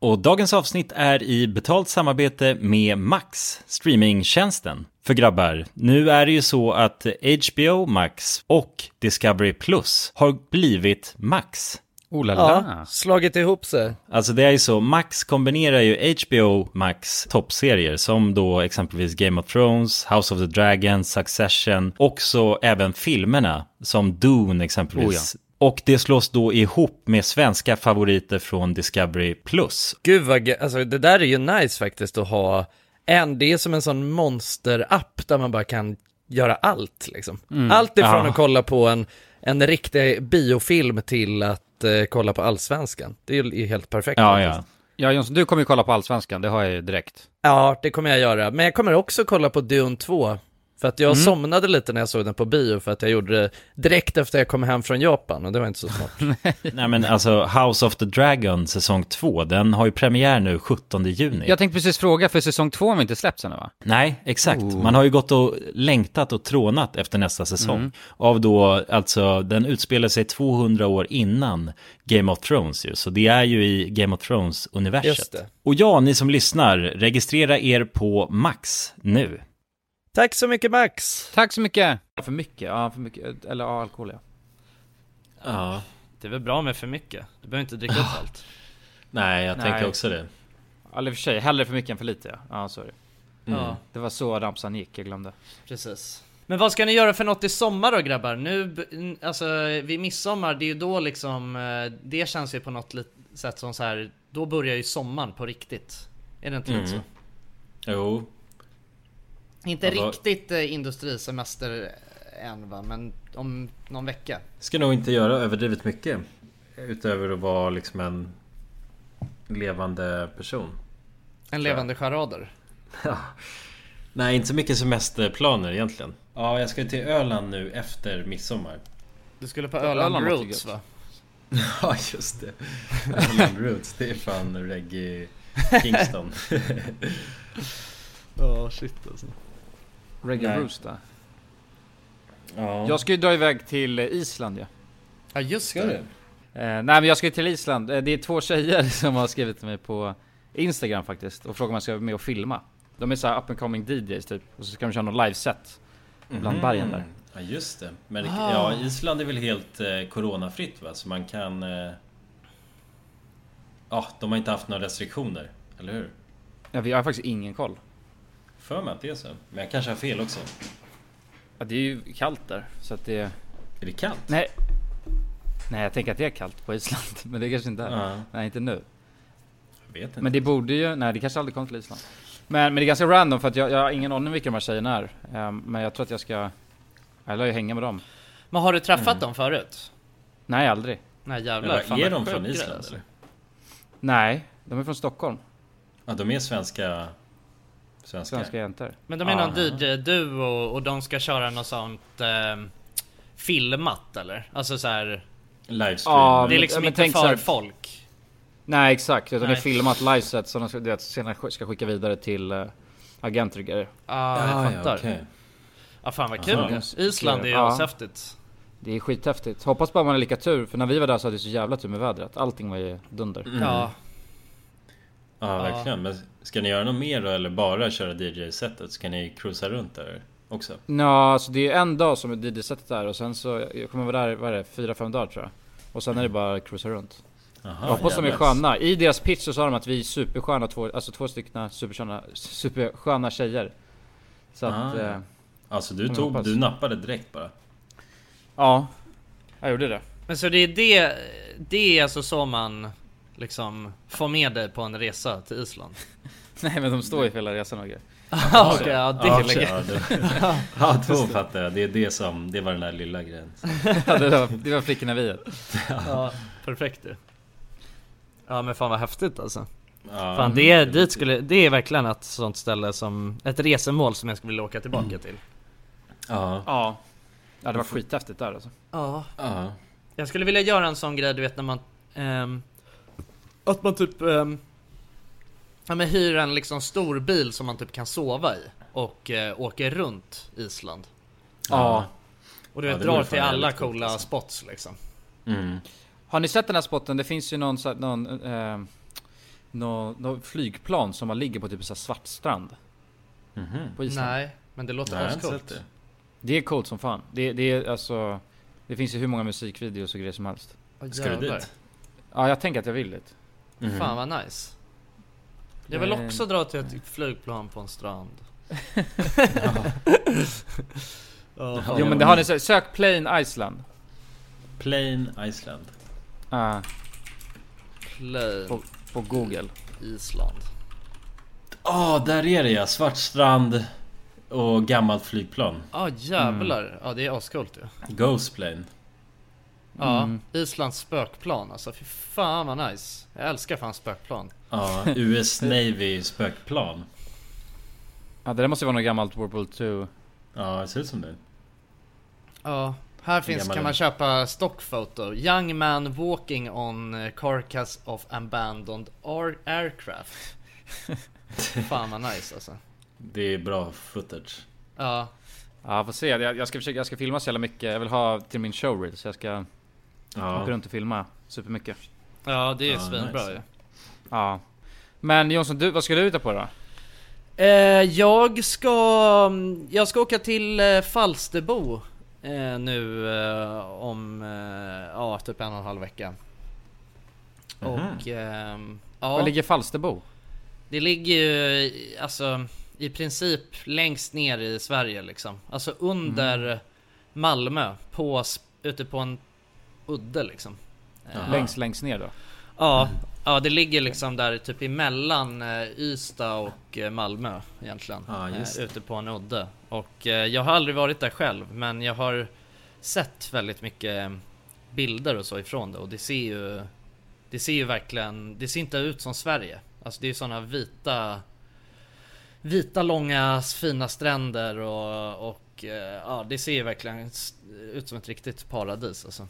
S2: Och dagens avsnitt är i betalt samarbete med Max, streamingtjänsten för grabbar. Nu är det ju så att HBO Max och Discovery Plus har blivit Max.
S8: Oh la
S9: Ja,
S8: la.
S9: slagit ihop sig.
S2: Alltså det är ju så, Max kombinerar ju HBO Max toppserier som då exempelvis Game of Thrones, House of the Dragon, Succession och så även filmerna som Dune exempelvis. Och det slås då ihop med svenska favoriter från Discovery Plus.
S9: Gud vad ge- alltså det där är ju nice faktiskt att ha en, det är som en sån monster-app där man bara kan göra allt liksom. Allt ifrån
S2: Ja.
S9: att kolla på en, en riktig biofilm till att eh, kolla på allsvenskan. Det är ju helt perfekt.
S2: Ja,
S9: faktiskt.
S2: ja.
S3: Ja Jonsson, du kommer ju kolla på Allsvenskan, det har jag ju direkt.
S9: ja, det kommer jag göra. Men jag kommer också kolla på Dune 2. För att jag somnade lite när jag såg den på bio för att jag gjorde det direkt efter jag kom hem från Japan och det var inte så smart.
S2: Nej men alltså House of the Dragon säsong 2, den har ju premiär nu 17 juni.
S3: Jag tänkte precis fråga, för säsong två har vi inte släppts ännu va?
S2: Nej, exakt.
S9: Oh.
S2: Man har ju gått och längtat och trånat efter nästa säsong.
S9: Mm.
S2: Av då, alltså, den utspelar sig 200 år innan Game of Thrones ju. Så det är ju i Game of
S9: Just
S2: Thrones-universet.
S9: det.
S2: Och ja, ni som lyssnar, registrera er på Max nu.
S9: Tack så mycket Max!
S3: Tack så mycket! För mycket, ja för mycket, eller ja, alkohol ja.
S7: Ja.
S1: Det är väl bra med för mycket. Du behöver inte dricka
S9: Ah.
S1: upp allt.
S7: Nej, jag
S3: Nej.
S7: tänker också det.
S3: Eller i och för sig, hellre för mycket än för lite ja. Ja, sorry.
S9: Mm.
S1: Ja,
S3: Det var så ramsan gick, jag glömde.
S1: precis. Men vad ska ni göra för något i sommar då grabbar? Nu, b- n- alltså vid midsommar, det är ju då liksom, eh, det känns ju på något lit- sätt som så här, då börjar ju sommaren på riktigt. Är det inte lite så?
S7: Jo.
S1: Inte
S7: Ja, då-
S1: riktigt eh, industrisemester än va, men om någon vecka.
S7: Ska nog inte göra överdrivet mycket. Utöver att vara liksom en levande person.
S1: En levande charader.
S7: Nej, inte så mycket semesterplaner egentligen. Ja, jag ska till Öland nu efter midsommar.
S1: Du skulle på
S3: Öland
S1: Öland
S3: låter
S1: Roots
S3: gött.
S1: va?
S7: Ja, just det. Öland Roots, det är fan reggae Kingston.
S3: Reggae
S7: Nej.
S3: Roost där.
S7: Ja,
S3: Jag ska ju dra iväg till Island ja.
S1: Ja just
S7: ska
S1: det.
S7: du?
S3: Eh, nej men jag ska ju till Island, eh, det är två tjejer som har skrivit till mig på Instagram faktiskt och frågar om jag ska vara med och filma. De är så här up and coming DJs typ och så ska de köra något liveset bland
S2: Mhm.
S3: bergen där.
S2: Ja just det. Men det-
S3: Ah.
S2: ja, Island är väl helt eh, coronafritt va? Så man kan... eh, Ja, de har inte haft några restriktioner. Eller hur?
S3: Ja, vi har faktiskt ingen koll.
S2: För mig att det är så. Men jag kanske har fel också.
S3: Ja, det är ju kallt där så att det... Är
S2: det kallt?
S3: Nej. Nej, jag tänker att det är kallt på Island, men det kanske inte är.
S2: Ja.
S3: Nej, inte nu.
S2: Jag vet inte.
S3: Men det borde ju, nej det kanske aldrig kom till Island. Men, men det är ganska random för att jag, jag har ingen aning om vilka de här tjejerna är. Ehm, men jag tror att jag ska, jag lär ju hänga med dem.
S1: Men har du träffat
S3: Mm.
S1: dem förut?
S3: Nej aldrig.
S1: Nej jävlar. fan, vad sjuk grej, alltså.
S3: Nej, de är från Stockholm.
S2: Ja, de är svenska... Svenska.
S3: Svenska jäntor.
S1: Men de är någon DJ-duo och de ska köra något sånt eh, filmat eller? Alltså så här.
S2: Livestream.
S3: Ja,
S1: det är
S3: men-
S1: liksom
S3: men
S1: inte
S3: tänk så
S1: för
S3: här-
S1: folk.
S3: Nej exakt, utan det
S1: Nej.
S3: är filmat liveset som de ska, du vet, senare sk- ska skicka vidare till uh, agenter och grejer.
S1: Ah, jag Ah, ja, fattar. okej. Ja fan vad kul. Island är ju ashäftigt.
S3: Det är skithäftigt. Hoppas bara man har lika tur, för när vi var där så hade vi så jävla tur med vädret. Allting var ju dunder.
S2: Mm. Ja. Ja, verkligen. Men ska ni göra något mer då? Eller bara köra DJ-setet? Ska ni cruisa runt där också?
S3: Ja, så det är en dag som är DJ-setet där och sen så, jag kommer vara där, vad är det, fyra, fem dagar tror jag. Och sen är det bara att cruisa runt.
S2: Aha,
S3: jag hoppas de är
S2: jävlar.
S3: sköna. I deras pitch så sa de att vi är supersköna, två, alltså två stycken supersköna, supersköna tjejer. Så att...
S2: Ah.
S3: Eh,
S2: alltså du
S3: jag
S2: tog,
S3: hoppas.
S2: du nappade direkt bara.
S3: Ja, jag gjorde det.
S1: Men så det är det, det är alltså så man liksom får med dig på en resa till Island?
S3: Nej men de står ju för hela resan och grejer.
S1: Ah, okej, ja, det
S2: Ja,
S1: är läge.
S2: ja, det- ja, då fattar jag. Det är det som, det var den där lilla grejen.
S3: Ja, det, var, det var flickorna vi är.
S1: Ja, perfekt det. Ja men fan vad häftigt alltså.
S2: Ja.
S1: fan det är, dit skulle, det är verkligen ett sånt ställe som, ett resemål som jag skulle vilja åka tillbaka till.
S2: Ja.
S3: Ja. Ja, det var skithäftigt där alltså.
S1: Ja.
S2: Ja.
S1: Jag skulle vilja göra en sån grej du vet när man... ehm, att man typ... ehm, ja men hyr en liksom stor bil som man typ kan sova i. Och eh, åker runt Island.
S3: Ja.
S1: Och du
S3: Ja,
S1: vet
S3: det
S1: drar
S3: vore fan
S1: till alla
S3: jävligt coolt,
S1: coola spots liksom.
S2: Mm.
S3: Har ni sett den här spotten? Det finns ju någon, så- någon, eh, någon, någon flygplan som man ligger på typ en svart strand. På Island.
S1: Nej, men det låter
S2: Nej, jag har inte
S1: ascoolt.
S2: sett
S3: Det är coolt som fan. Det, det är alltså... Det finns ju hur många musikvideos och grejer som helst.
S1: Åh, Ska du jävlar. dit?
S3: Ja, jag tänker att jag vill dit.
S1: Fan vad nice. Jag vill
S3: Mhm. Men-
S1: också dra till ett flygplan på en strand. Ja, fan,
S3: jo
S1: jag-
S3: men det har ni sett. Sök Plane Iceland.
S2: Plain Iceland.
S3: Ah,
S1: Play.
S3: på, på Google.
S1: Island.
S2: Ja, där är det ja. Svart strand och gammalt flygplan.
S1: Ja jävlar.
S3: Mm.
S1: Ja det är ascoolt ju.
S2: Ghost plane.
S1: Ja,
S3: Mm.
S1: Islands spökplan alltså. Fy fan vad nice. Jag älskar fan spökplan.
S2: Ja, US Navy spökplan.
S3: Ja, det där måste ju vara något gammalt World War 2.
S2: Ja, det ser ut som det.
S1: Ja, här finns
S2: Gammal
S1: kan
S2: är
S1: man
S2: det.
S1: köpa stockfoto. Young man walking on carcass of abandoned ar- aircraft. fan vad nice alltså.
S2: Det är bra footage.
S1: Ja,
S3: Ja, får se. Jag, jag ska försöka, jag ska filma så jävla mycket. Jag vill ha till min showreel så jag ska
S2: Ja.
S3: åka runt och filma supermycket.
S1: ja det är
S2: Ja,
S1: svinbra
S2: nice.
S1: ju.
S3: Ja. Men Jonsson, du, vad ska du hitta på då?
S1: Eh, jag ska... Jag ska åka till eh, Falsterbo eh, nu eh, om... Eh, ja, typ en och en halv vecka. Och... ehm, ja.
S3: Var ligger Falsterbo?
S1: Det ligger ju i- alltså i princip längst ner i Sverige liksom. Alltså under
S2: Mm.
S1: Malmö på, s- ute på en udde liksom. Eh,
S3: Längst, längst ner då?
S1: Ja, ja det ligger liksom där typ emellan eh, Ystad och eh, Malmö egentligen.
S2: Ja, just
S1: Eh,
S2: det.
S1: Ute på en udde. Och eh, jag har aldrig varit där själv men jag har sett väldigt mycket eh, bilder och så ifrån det och det ser ju Det ser ju verkligen, det ser inte ut som Sverige. Alltså det är ju sådana vita Vita långa fina stränder och, och eh, ja det ser ju verkligen s- ut som ett riktigt paradis alltså.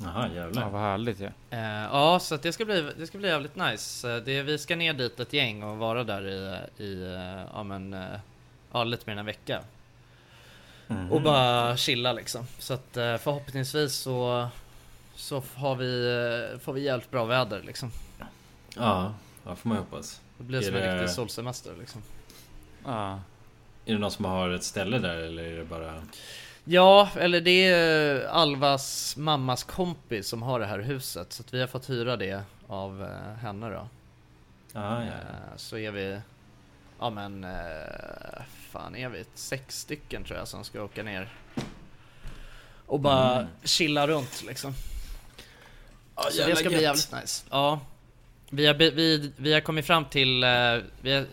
S2: Jaha,
S3: Ja,
S2: jävlar.
S3: vad härligt ju. Ja.
S1: Eh, ja, så att det, ska bli, det ska bli jävligt nice. Eh, Det, vi ska ner dit ett gäng och vara där i, i eh, ja, men, eh, ja, lite mer än en vecka.
S2: Mhm.
S1: Och bara chilla liksom. Så att eh, förhoppningsvis så, så har vi, eh, får vi jävligt bra väder liksom.
S2: Ja, Ja, får man hoppas.
S1: Det blir
S2: Är
S1: som en
S2: det-
S1: riktig solsemester liksom.
S2: Är det någon som har ett ställe där eller är det bara...
S1: Ja, eller det är Alvas mammas kompis som har det här huset. Så att vi har fått hyra det av eh, henne då.
S2: Ah, ja.
S1: Eh, Så är vi, ja men, eh, fan är vi sex stycken tror jag som ska åka ner. Och bara
S2: Mm.
S1: chilla runt liksom. Så det
S2: jävla
S1: ska bli
S2: gött.
S1: jävligt nice. Ja. Vi har, be- vi, vi har kommit fram till, eh, vi har,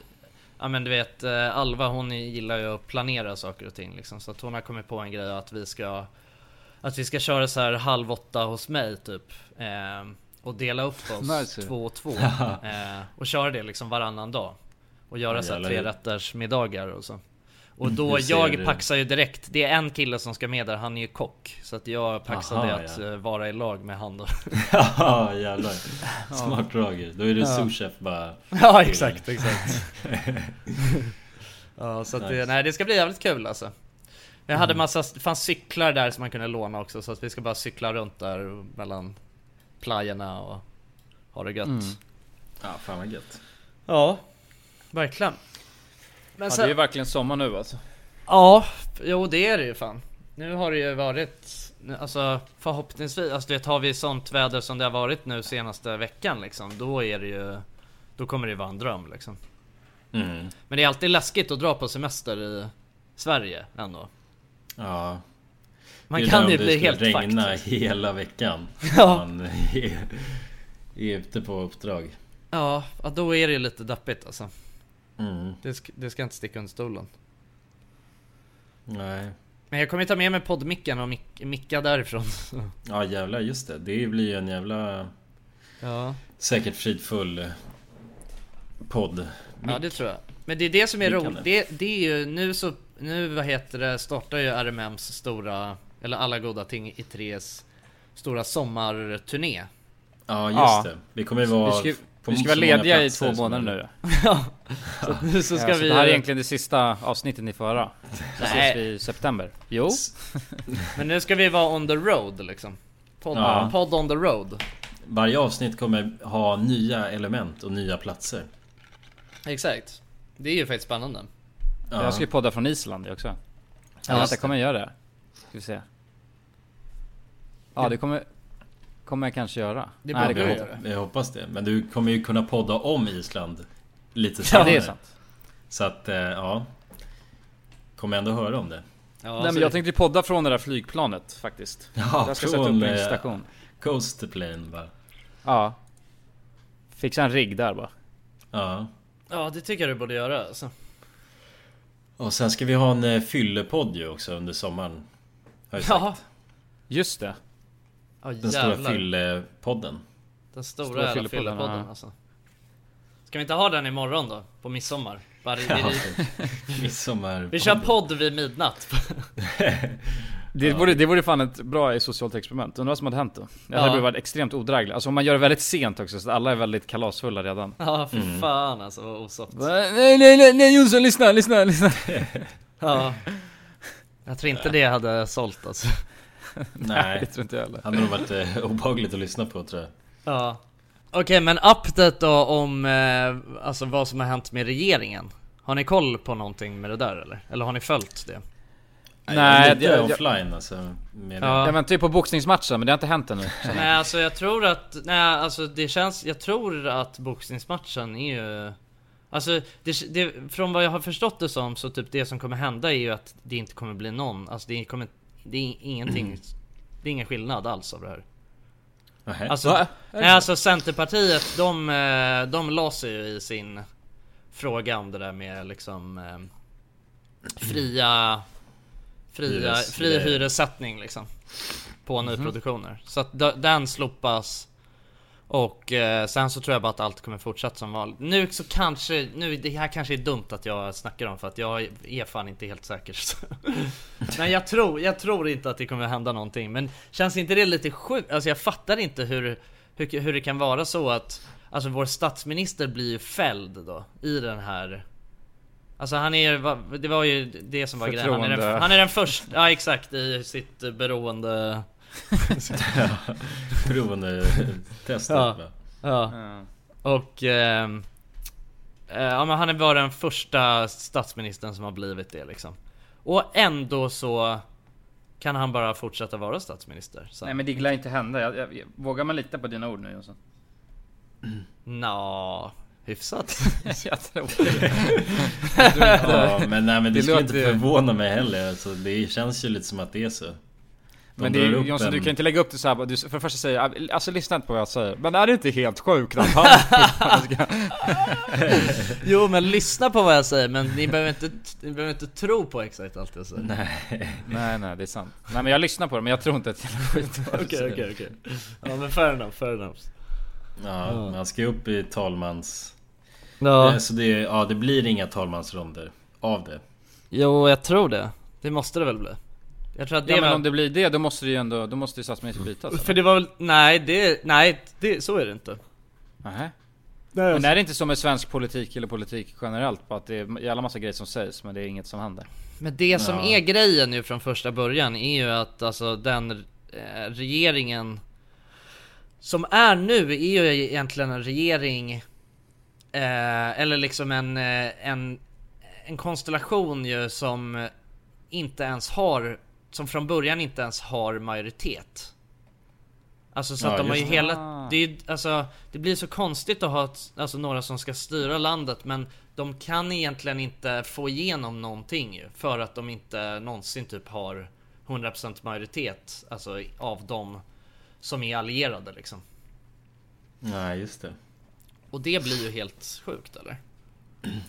S1: ja men du vet eh, Alva hon gillar ju att planera saker och ting liksom. Så att hon har kommit på en grej att vi ska, att vi ska köra så här halv åtta hos mig typ. Eh, och dela upp oss
S3: Nice.
S1: två och två. eh, och köra det liksom varannan dag. Och göra
S2: Ja,
S1: så här
S2: jävlar.
S1: tre rätters middagar och så. Och då,
S2: Hur ser
S1: jag
S2: du-
S1: paxar ju direkt. Det är en kille som ska med där, han är ju kock. Så att jag paxade
S2: Aha,
S1: att
S2: ja.
S1: eh, vara i lag med han då.
S2: Ja, jävlar. Smart Roger. Då är du souschef bara.
S1: Ja exakt, exakt. ja så att det,
S2: Nice.
S1: nej, det ska bli jävligt kul alltså. Jag
S3: Mm.
S1: hade massa, det fanns cyklar där som man kunde låna också så att vi ska bara cykla runt där mellan playerna och ha det
S3: Mm.
S1: gött.
S2: Ja, fan vad gött.
S1: Ja, verkligen. Men
S3: Ja,
S1: sen,
S3: det är verkligen sommar nu alltså.
S1: Ja, jo det är det ju fan. Nu har det ju varit, nu- alltså förhoppningsvis, alltså du vet har vi sånt väder som det har varit nu senaste veckan liksom, då är det ju, då kommer det ju vara en dröm liksom.
S2: Mm.
S1: Men det är alltid läskigt att dra på semester i Sverige ändå.
S2: Ja.
S1: Man
S2: Det är
S1: kan
S2: där
S1: ju
S2: om det
S1: bli
S2: skulle
S1: helt
S2: regna
S1: fucked.
S2: hela veckan.
S1: Ja.
S2: Man är, är ute på uppdrag.
S1: Ja, ja, då är det ju lite deppigt alltså.
S2: Mm.
S1: Det ska, det ska inte sticka under stolen.
S2: Nej.
S1: Men jag kommer ju ta med mig poddmicken och mic- micka därifrån.
S2: Ja, jävlar. Just det. Det blir ju en jävla
S1: Ja.
S2: säkert fridfull podd.
S1: Ja det tror jag. Men det är det som är
S2: Mick kan
S1: roligt. Det, det är ju nu så, nu vad heter det, startar ju RMMs stora, eller alla goda ting i tres stora sommarturné.
S2: Ja, just
S3: Ja.
S2: det. Vi kommer ju vara...
S3: Vi ska,
S2: på
S3: vi ska
S2: så
S3: vara
S2: många
S3: lediga i
S2: platser
S3: två
S2: som
S3: månader
S2: möjligt.
S3: nu.
S1: Nu så ska
S3: ja, så
S1: vi
S3: det här är
S1: ju-
S3: egentligen det sista avsnittet ni får höra. Så ses
S1: Nej.
S3: vi i september. Jo.
S1: Men nu ska vi vara on the road liksom. Podd,
S2: Ja.
S1: podd on the road.
S2: Varje avsnitt kommer ha nya element och nya platser.
S1: Exakt. Det är ju faktiskt spännande.
S2: Ja.
S3: Jag ska ju podda från Island också. Ja,
S2: just
S3: vänta, kommer jag göra det? Ska vi se. Ja, det kommer... Kommer jag kanske göra.
S1: Det
S3: Nej,
S1: borde
S3: det
S1: du
S3: kommer
S2: jag,
S1: göra.
S3: inte.
S2: hop- jag hoppas det. Men du kommer ju kunna podda om Island lite
S3: Ja,
S2: senare.
S3: det är sant.
S2: Så att, eh, ja. Kommer ändå höra om det.
S1: Ja,
S3: Nej,
S1: så
S3: men jag
S1: alltså det-
S3: tänkte ju podda från det där flygplanet faktiskt.
S2: Ja,
S3: jag ska sätta upp
S2: från,
S3: en
S2: eh,
S3: station.
S2: Coast plane bara.
S3: Ja. Fixa en rigg där bara.
S2: Ja.
S1: ja det tycker jag du borde göra alltså.
S2: Och sen ska vi ha en eh, fyllepodd ju också under sommaren. Har jag sagt.
S1: Ja.
S3: Just det.
S1: Ja
S2: Den stora
S1: jävlar.
S2: fyllepodden.
S1: Den stora,
S3: Stora
S1: jävla
S3: fyllepodden,
S1: fyllepodden
S3: ja.
S1: alltså. Ska vi inte ha den imorgon då? På midsommar? Bara, vi,
S2: Ja.
S1: vi,
S2: Midsommar.
S1: vi kör podd vid midnatt.
S3: Det vore, det vore fan ett bra socialt experiment. Undrar vad som hade hänt då? Jag
S1: Ja.
S3: hade varit extremt odräglig. Alltså om man gör det väldigt sent också så att alla är väldigt kalasfulla redan.
S1: Ja för fan alltså vad osoft.
S3: Nej, nej, nej, nej Jonsson lyssna, lyssna, lyssna.
S1: Ja. Jag tror inte det hade sålt alltså.
S3: Det
S2: Nej.
S3: tror inte jag heller.
S2: Hade nog varit eh, obehagligt att lyssna på tror jag.
S1: Ja. Okej men update då om eh, alltså vad som har hänt med regeringen. Har ni koll på någonting med det där eller? Eller har ni följt det?
S3: Nej,
S2: lite
S3: jag, jag,
S2: offline alltså. Med
S1: Ja.
S3: jag väntar ju på boxningsmatchen men det har inte hänt ännu.
S1: Nej alltså jag tror att, nej alltså det känns, jag tror att boxningsmatchen är ju Alltså det, det, från vad jag har förstått det som så typ det som kommer hända är ju att det inte kommer bli någon, alltså det kommer, det är ingenting, det är ingen skillnad alls av det här.
S2: Nähä.
S1: Alltså, nej, alltså Centerpartiet de, eh, de la sig ju i sin fråga om det där med liksom eh, fria, fria
S2: Hyres-
S1: fri hyressättning liksom på nyproduktioner. Så att d- den slopas och eh, sen så tror jag bara att allt kommer fortsätta som vanligt. Nu så kanske, nu det här kanske är dumt att jag snackar om för att jag är fan inte helt säker. Så. Men jag tror, jag tror inte att det kommer hända någonting. Men känns inte det lite sjukt? Alltså jag fattar inte hur, hur, hur det kan vara så att Alltså vår statsminister blir ju fälld då i den här Alltså han är va- det var ju det som var grejen. Han är den,
S3: Förtroende.
S1: han är den första, ja exakt i sitt eh, beroende
S2: Beroendetestet
S1: Ja.
S2: va?
S1: Ja. Och... ehm, eh, ja, men han är bara den första statsministern som har blivit det liksom. Och ändå så kan han bara fortsätta vara statsminister. Så.
S10: Nej men det lär inte hända. Jag, jag, jag- vågar man lita på dina ord nu Jonsson?
S1: Nå, hyfsat.
S10: jag tror det.
S2: Ja, men nej, men det,
S10: Det
S2: skulle inte
S10: låter-
S2: förvåna mig heller. Alltså, det känns ju lite som att det är så. De
S3: Men det,
S2: drar upp
S3: Jonsson, du
S2: en-
S3: kan inte lägga upp det så här. bara, Du, för det första säger jag, alltså lyssna inte på vad jag säger. Men är det inte helt sjukt att han
S1: jo men lyssna på vad jag säger men ni behöver inte, ni behöver inte tro på exakt allt jag säger.
S3: Nej nej det är sant. Nej men jag lyssnar på det men jag tror inte att jag skit vad du
S1: Okej
S3: säger.
S1: okej okej. Ja men fair enough, fair enough.
S2: Ja,
S1: Ja.
S2: man ska ju upp i talmans...
S1: Ja.
S2: Eh, Så det, ja, det blir inga talmansronder av det.
S1: Jo jag tror det. Det måste det väl bli. Jag tror att det
S3: Ja, men
S1: var...
S3: om det blir det då måste det ju ändå, då måste ju statsministern bytas. eller?
S1: För det var väl, nej det, nej det, så är det inte.
S3: Nähä. Men
S10: alltså-
S3: är det inte som med svensk politik eller politik generellt? På att det är jävla massa grejer som sägs men det är inget som händer.
S1: Men det som
S3: Ja.
S1: är grejen nu från första början är ju att alltså den eh, regeringen som är nu är ju egentligen en regering eh, eller liksom en, eh, en, en konstellation ju som inte ens har som från början inte ens har majoritet. Alltså så
S6: Ja,
S1: att de har ju
S6: just det.
S1: hela, det, är, ju- alltså, det blir så konstigt att ha ett, alltså, några som ska styra landet men de kan egentligen inte få igenom någonting ju, för att de inte någonsin typ har 100% majoritet alltså, av de som är allierade liksom.
S2: Nej, just det.
S1: Och det blir ju helt sjukt eller?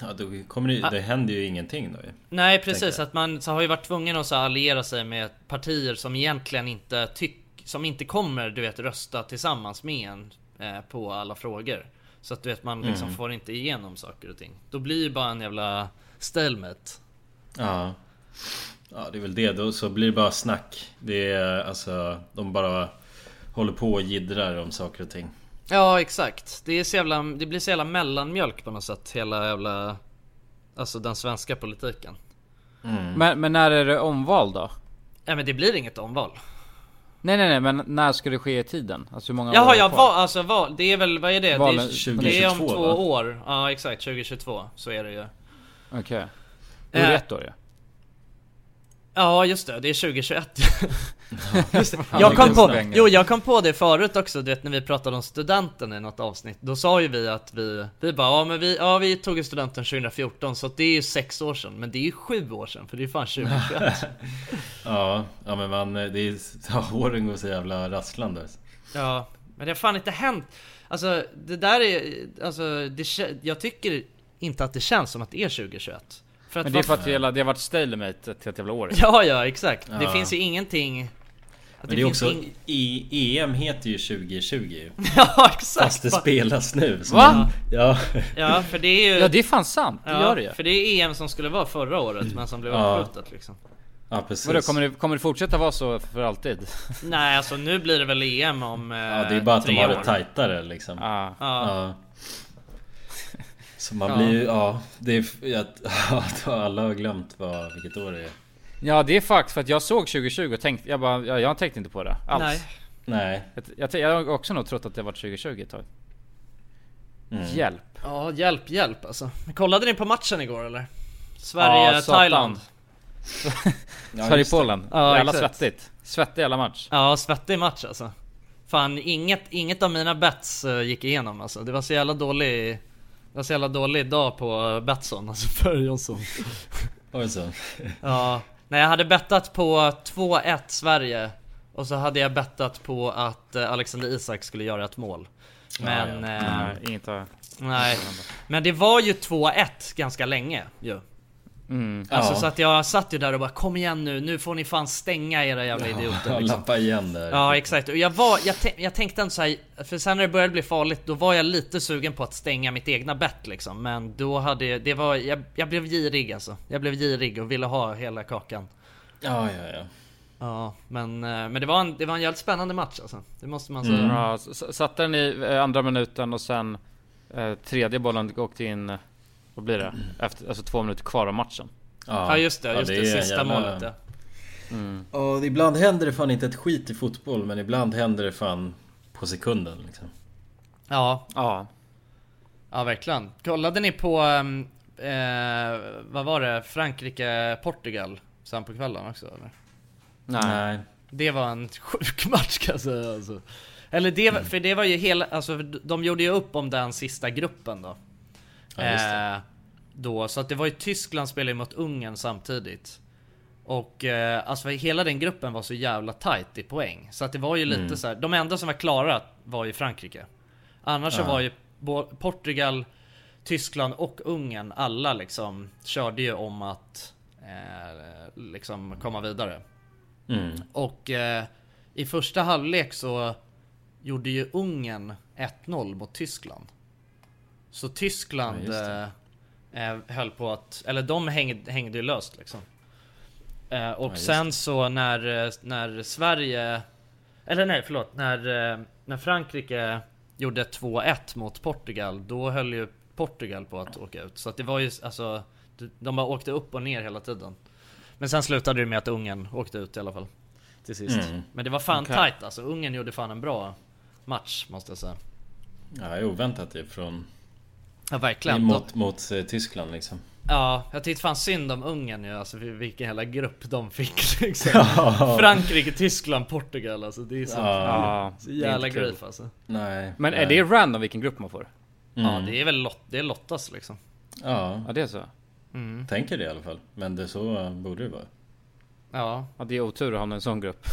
S2: Ja, då kommer det, det händer ju ingenting då ju.
S1: Nej
S2: tänker
S1: precis,
S2: jag.
S1: att man så har ju varit tvungen att så alliera sig med partier som egentligen inte tyck, som inte kommer du vet rösta tillsammans med en eh, på alla frågor. Så att du vet man liksom
S2: Mm.
S1: får inte igenom saker och ting. Då blir ju bara en jävla stalemate.
S2: Ja. Ja, det är väl det. Då så blir det bara snack. Det är alltså, de bara håller på och jiddrar om saker och ting.
S1: Ja exakt, det, är så jävla, det blir så jävla mellanmjölk på något sätt hela jävla Alltså den svenska politiken.
S3: Men, men när är det omval då?
S1: Nej men det blir inget omval.
S3: Nej nej nej men när ska det ske i tiden? Alltså hur många år
S1: Jaha
S3: är
S1: ja,
S3: kvar?
S1: val, alltså val, det är väl, vad är det?
S3: Valen-
S1: det, är, det är om
S3: 2022,
S1: två
S3: va?
S1: år. Ja exakt, 2022. Så är det ju.
S3: Okej. Då är
S1: Eh,
S3: det ett år ja.
S1: Ja just det, det är 2021 just det.
S3: Fan,
S1: Jag
S3: det
S1: kom
S3: går
S1: på,
S3: snabbt.
S1: Jo jag kom på det förut också, du vet när vi pratade om studenten i något avsnitt Då sa ju vi att vi, vi bara ja men vi, ja, vi tog ju studenten 2014 så att det är ju sex år sedan Men det är ju sju år sedan för det är ju fan 2021
S2: Ja, ja men man, eh, det är, ja, åren går så jävla rasslande.
S1: Ja, men det har fan inte hänt Alltså det där är, alltså det, kä- jag tycker inte att det känns som att det är 2021 för
S3: Men det är för
S1: vad-
S3: att det, hela- det har varit stalemate ett helt jävla år.
S1: Ja ja exakt, det
S3: Ja.
S1: finns ju ingenting att
S2: Men det är
S1: finns
S2: också,
S1: ing-
S2: i, EM heter ju 2020 ju.
S1: Ja exakt!
S2: Fast det spelas nu. så
S1: Va?
S2: man- Ja.
S1: Ja för det är ju...
S3: Ja, det är fan sant. Det gör det ju.
S1: För det är EM som skulle vara förra året men som blev
S3: Ja.
S1: uppskjutet liksom.
S2: Ja precis.
S3: Vadå, kommer det, kommer det fortsätta vara så för alltid?
S1: Nej alltså nu blir det väl EM om eh,
S2: Ja det är bara att de
S1: tre
S2: har
S1: år.
S2: det tajtare liksom. Ja.
S3: Ah.
S1: Ja.
S2: Så man
S1: Ja.
S2: blir ju, ja. Det är, jag, alla har glömt vad, vilket år det är.
S3: Ja det är faktiskt för att jag såg 2020 och tänkte, jag bara, jag, jag tänkte inte på det alls.
S1: Nej.
S2: Nej.
S3: Jag, jag, jag har också nog trott att det var 2020 ett tag. Hjälp.
S1: Ja hjälp, hjälp alltså. Kollade ni på matchen igår eller? Sverige, Thailand.
S3: Sverige-Polen.
S1: Ja,
S3: Jävla
S1: exakt.
S3: svettigt. Svettig jävla match.
S1: Ja svettig match alltså. Fan inget, inget av mina bets eh, gick igenom alltså. Det var så jävla dålig... Det var så jävla dålig dag på eh, Betsson alltså för Jonsson.
S2: Var det så?
S1: Ja, nej jag hade bettat på 2-1 Sverige och så hade jag bettat på att eh, Alexander Isak skulle göra ett mål. Men...
S3: Ja, Mm. ja.
S1: eh,
S3: Nej, inget har-
S1: Nej. Men det var ju 2-1 ganska länge ju.
S3: Mm.
S1: Alltså
S2: Ja.
S1: så att jag satt ju där och bara kom igen nu, nu får ni fan stänga era jävla idioter
S2: Ja,
S1: liksom.
S2: Lappa igen där.
S1: Ja exakt, och jag var, jag, tän- jag tänkte ändå såhär, för sen när det började bli farligt då var jag lite sugen på att stänga mitt egna bett liksom. Men då hade jag, det var, jag, jag blev girig alltså. Jag blev girig och ville ha hela kakan.
S2: Ja, ja, ja.
S1: Ja, men, eh, men det, var en, det var en jävligt spännande match alltså. Det måste man säga.
S3: Mm. Ja, s- s- satte den i eh, andra minuten och sen eh, tredje bollen åkte in, eh, vad blir
S1: Mm.
S3: det? Efter, alltså två minuter kvar av matchen.
S1: Ja, just det, just det,
S2: är en
S1: sista målet, ja.
S3: Mm.
S2: Ja, ibland händer det fan inte ett skit i fotboll men ibland händer det fan på sekunden liksom.
S1: Ja.
S3: Ja.
S1: Ja, verkligen. Kollade ni på, ehm, eh, vad var det, Frankrike-Portugal sen på kvällen också eller?
S4: Nej.
S1: Det var en sjuk match kan jag säga alltså. Eller det,
S2: Mm.
S1: var- för det var ju hela, alltså för de gjorde ju upp om den sista gruppen då.
S2: Ja, just det.
S1: Eh, då, så att det var ju Tyskland spelade mot Ungern samtidigt. Och eh, alltså hela den gruppen var så jävla tight i poäng. Så att det var ju lite
S6: Mm.
S1: så här, de enda som var klara var ju Frankrike. Annars så
S6: Ja.
S1: var ju bo- Portugal, Tyskland och Ungern, alla liksom körde ju om att eh, liksom komma vidare.
S4: Mm.
S1: Och eh, i första halvlek så gjorde ju Ungern 1-0 mot Tyskland. Så Tyskland
S6: Ja, just
S1: eh, eh, höll på att, eller de hängde, hängde ju löst liksom. Eh, och
S6: Ja, just
S1: sen så när, eh, när Sverige, eller nej förlåt, när, eh, när Frankrike gjorde 2-1 mot Portugal, då höll ju Portugal på att åka ut. Så att det var ju alltså, de bara åkte upp och ner hela tiden. Men sen slutade det med att Ungern åkte ut i alla fall. Till sist.
S2: Mm.
S1: Men det var fan
S2: Okej.
S1: tight alltså. Ungern gjorde fan en bra match måste jag säga.
S2: Ja, det är oväntat ju från...
S1: Ja, verkligen.
S2: Mot, mot eh, Tyskland liksom.
S1: Ja, jag tyckte fan synd om Ungern ju alltså för vilken hela grupp de fick liksom.
S2: Ja.
S1: Frankrike, Tyskland, Portugal alltså. Det är så,
S3: Ja.
S1: så jävla
S3: Inte kul.
S1: griff alltså.
S2: Nej.
S3: Men
S1: Nej.
S3: är det random vilken grupp man får?
S1: Ja, det är väl lot, det är Lottas liksom.
S2: Ja.
S3: Ja, det är så.
S1: Mm.
S2: Tänker det i alla fall. Men det så eh, borde det vara.
S1: Ja.
S3: ja, det är otur att hamna i en sån grupp.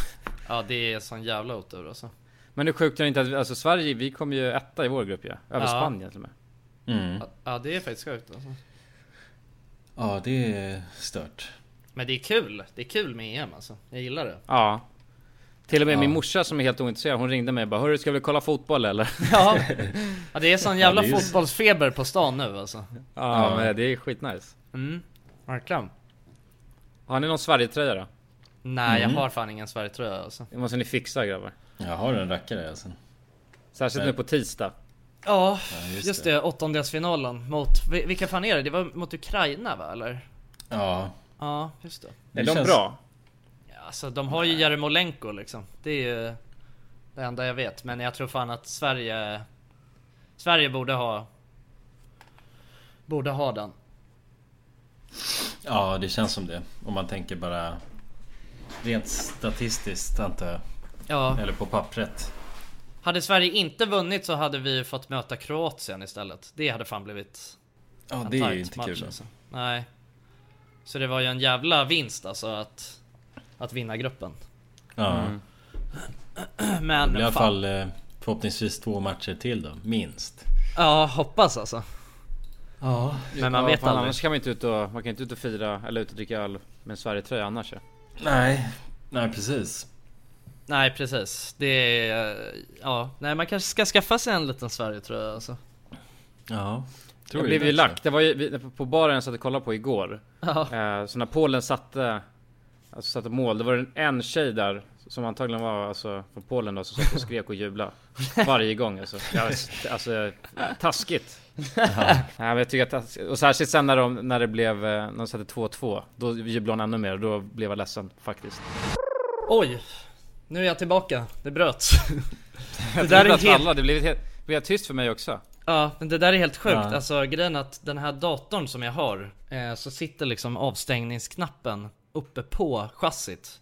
S1: Ja, det är sån jävla otur alltså.
S3: Men det är sjukt är det inte att, vi- alltså Sverige, vi kom ju etta i vår grupp ju. Över
S1: Ja.
S3: Spanien till och med.
S2: Mm.
S1: Ja, det är faktiskt sjukt alltså.
S2: Ja, det är stört.
S1: Men det är kul. Det är kul med EM alltså. Jag gillar det.
S3: Ja. Till och med
S1: Ja.
S3: min morsa som är helt ointresserad, hon ringde mig och bara Hörru, ska vi kolla fotboll eller?
S1: Ja, ja det är sån jävla
S3: Ja, det är ju-
S1: fotbollsfeber på stan nu alltså.
S3: Ja, men det är skitnice.
S1: Mm, verkligen.
S3: Har ni någon Sverigetröja då?
S1: Nej,
S3: Mm.
S1: jag har fan ingen Sverigetröja alltså.
S3: Det måste ni fixa grabbar.
S2: Jag har en rackare alltså.
S3: Särskilt
S2: Men-
S3: nu på tisdag.
S1: Ja,
S2: Ja,
S1: just,
S2: just
S1: det. Åttondelsfinalen mot, vi- vilka fan är det? Det var mot Ukraina va, eller?
S2: Ja.
S1: Ja, just det.
S3: Är
S2: Det
S3: de
S2: känns-
S3: bra?
S1: Ja, Alltså de har ju Jeremolenko liksom. Det är ju det enda jag vet. Men jag tror fan att Sverige... Sverige borde ha... Borde ha den.
S2: Ja, det känns som det. Om man tänker bara rent statistiskt antar jag.
S1: Ja.
S2: Eller på pappret.
S1: Hade Sverige inte vunnit så hade vi ju fått möta Kroatien istället. Det hade fan blivit...
S2: Ja,
S1: en
S2: det är ju
S1: tight
S2: inte
S1: match,
S2: kul.
S1: alltså. Nej. Så det var ju en jävla vinst alltså att... Att vinna gruppen.
S2: Ja.
S1: Mm.
S2: det blir i
S1: Men
S2: alla
S1: fan.
S2: fall eh, förhoppningsvis två matcher till då. Minst.
S1: Ja, hoppas alltså.
S2: Ja.
S1: Men man
S3: Ja,
S1: vet
S3: fan,
S1: aldrig.
S3: Annars kan man inte ut och, man kan inte ut och fira eller ut och dricka öl med en Sverigetröja annars ju.
S2: Nej. Nej, precis.
S1: Nej precis. Det är... Ja, nej man kanske ska skaffa sig en liten Sverigetröja alltså.
S2: Ja.
S3: jag blev ju lack. Det var ju vi- på baren jag satt och kollade på igår.
S1: Ja.
S3: Eh, så när Polen satte, alltså satte mål, då var det en tjej där som antagligen var alltså, från Polen då, som satt och skrek och jublade. Varje gång alltså. Jag, alltså taskigt. Nej, men jag tycker att, tas- och särskilt sen när de, när det blev, eh, när de satte 2-2. Då jublade hon ännu mer och då blev jag ledsen faktiskt.
S1: Oj! Nu är jag tillbaka. Det bröts.
S3: Det
S1: där är
S3: blev att
S1: helt-
S3: alla, det blev helt, det blev tyst för mig också.
S1: Ja, men det där är helt sjukt.
S3: Ja.
S1: Alltså grejen är att den här datorn som jag har, eh, så sitter liksom avstängningsknappen uppe på chassit.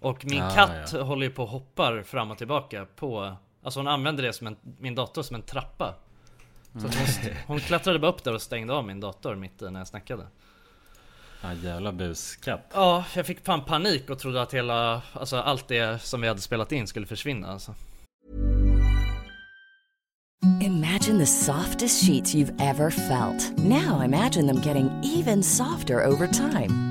S1: Och min
S6: Ah,
S1: katt håller ju på och hoppar fram och tillbaka på... Alltså hon använder det som en, min dator som en trappa. Så att hon, st- hon klättrade bara upp där och stängde av min dator mitt i när jag snackade.
S2: Ja, jävla buskatt.
S1: Ja, jag fick fan panik och trodde att hela, alltså allt det som vi hade spelat in skulle försvinna alltså.
S11: Imagine the softest sheets you've ever felt. Now imagine them getting even softer over time.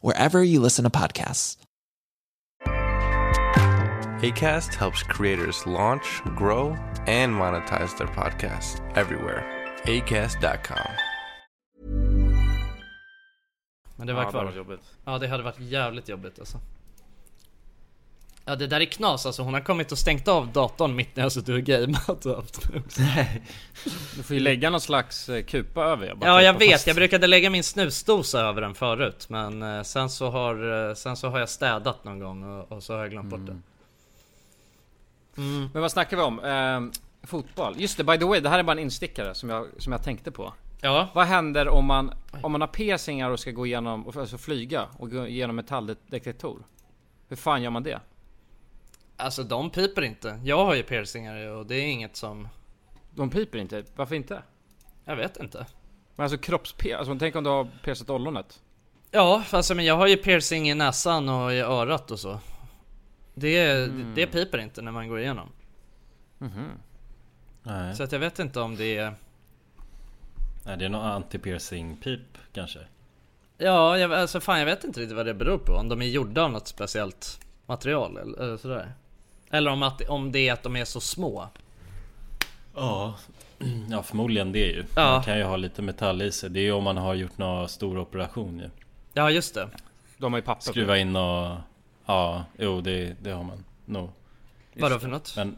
S4: wherever you listen to podcasts.
S6: ACAST helps creators launch, grow, and monetize their podcasts everywhere. ACAST.com.
S1: Men det var
S12: Ja,
S1: kvar.
S12: det var jobbigt.
S1: Ja det hade varit jävligt jobbigt alltså. Ja det där är knas alltså. Hon har kommit och stängt av datorn mitt när jag suttit och gameat och haft mig också.
S3: Du får ju lägga någon slags eh, kupa över. Jag bara
S1: Mm. Ja jag
S3: tittar
S1: vet,
S3: fast.
S1: jag brukade lägga min snusdosa över den förut men eh, sen så har, eh, sen så har jag städat någon gång och, och så har jag glömt bort
S12: Mm.
S1: det.
S3: Men vad snackar vi om? Ehm, fotboll. Just det, by the way, det här är bara en instickare som jag, som jag tänkte på.
S1: Ja.
S3: Vad händer om man, om man har piercingar och ska gå igenom, och- alltså flyga och gå igenom metalldetektor? Hur fan gör man det?
S1: Alltså de piper inte. Jag har ju piercingar och det är inget som...
S3: De piper inte? Varför inte?
S1: Jag vet inte.
S3: Men alltså kroppspiercing, alltså tänk om du har piercat ollonet?
S1: Ja, alltså men jag har ju piercing i näsan och i örat och så. Det,
S2: Mm.
S1: det, det piper inte när man går igenom.
S2: Nej.
S1: Så att jag vet inte om det är...
S2: Nej, det är någon anti-piercing pip kanske.
S1: Ja, jag, alltså fan jag vet inte riktigt vad det beror på. Om de är gjorda av något speciellt material eller, eller sådär. Eller om, att, om det är att de är så små.
S2: Ja. Ja förmodligen det ju.
S1: Ja.
S2: Man kan ju ha lite metall i sig. Det är ju om man har gjort någon stor operation ju.
S1: Ja, just det.
S3: De har ju papper på.
S2: Skruva in och... Ja, jo det, det har man nog.
S1: Vadå för något?
S2: Men...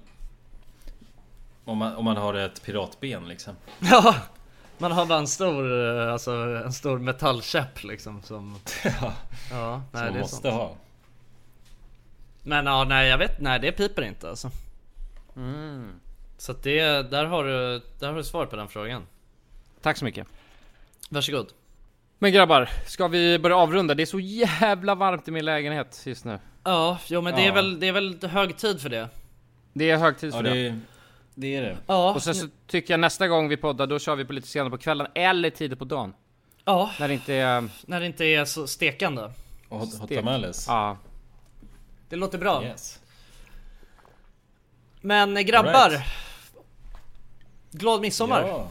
S2: Om man, om man har ett piratben liksom.
S1: Ja! Man har bara en stor, eh, alltså en stor metallkäpp liksom som... Ja, nej,
S2: som man
S1: det är
S2: måste
S1: sant.
S2: ha.
S1: Men ja, nej jag vet, nej det piper inte alltså. Så att det, där har du, där har du svar på den frågan.
S3: Tack så mycket.
S1: Varsågod.
S3: Men grabbar, ska vi börja avrunda? Det är så jävla varmt i min lägenhet just nu.
S1: Ja, jo men det
S3: Ja.
S1: är väl, det är väl hög tid för det.
S3: Det är hög tid för
S1: Ja, det-
S3: det.
S2: Det är det.
S1: Ja.
S3: Och sen så tycker jag nästa gång vi poddar, då kör vi på lite senare på kvällen eller tidigt på dagen.
S1: Ja.
S3: När det inte är...
S1: När det inte är så stekande.
S2: Och hot, hot
S3: Stek.
S2: tamales.
S3: Ja.
S1: Det låter bra.
S2: Yes.
S1: Men eh, grabbar.
S2: All right.
S1: Glad midsommar.
S2: Ja.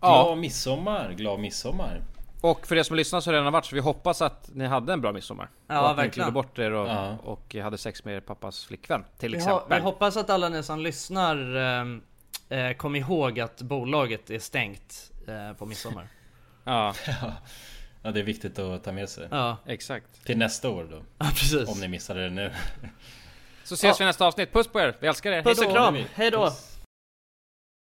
S3: Ja.
S2: Glad midsommar, glad midsommar.
S3: Och för er som lyssnar så har det redan varit så vi hoppas att ni hade en bra midsommar.
S1: Ja,
S3: och att
S1: verkligen.
S3: ni inte bort er och,
S2: Ja.
S3: och hade sex med er pappas flickvän till
S1: Vi,
S3: exempel.
S1: ho- vi hoppas att alla ni som lyssnar ehm, eh, kom ihåg att bolaget är stängt eh, på midsommar.
S3: Ja.
S2: ja, det är viktigt att ta med sig.
S1: Ja.
S3: Exakt.
S2: Till nästa år då.
S1: Ja, precis.
S2: Om ni missade det nu.
S3: Så ses vi i nästa avsnitt. Puss på er, vi älskar er.
S1: Puss och
S3: Hejdå.
S1: kram. Hej då.
S3: Puss.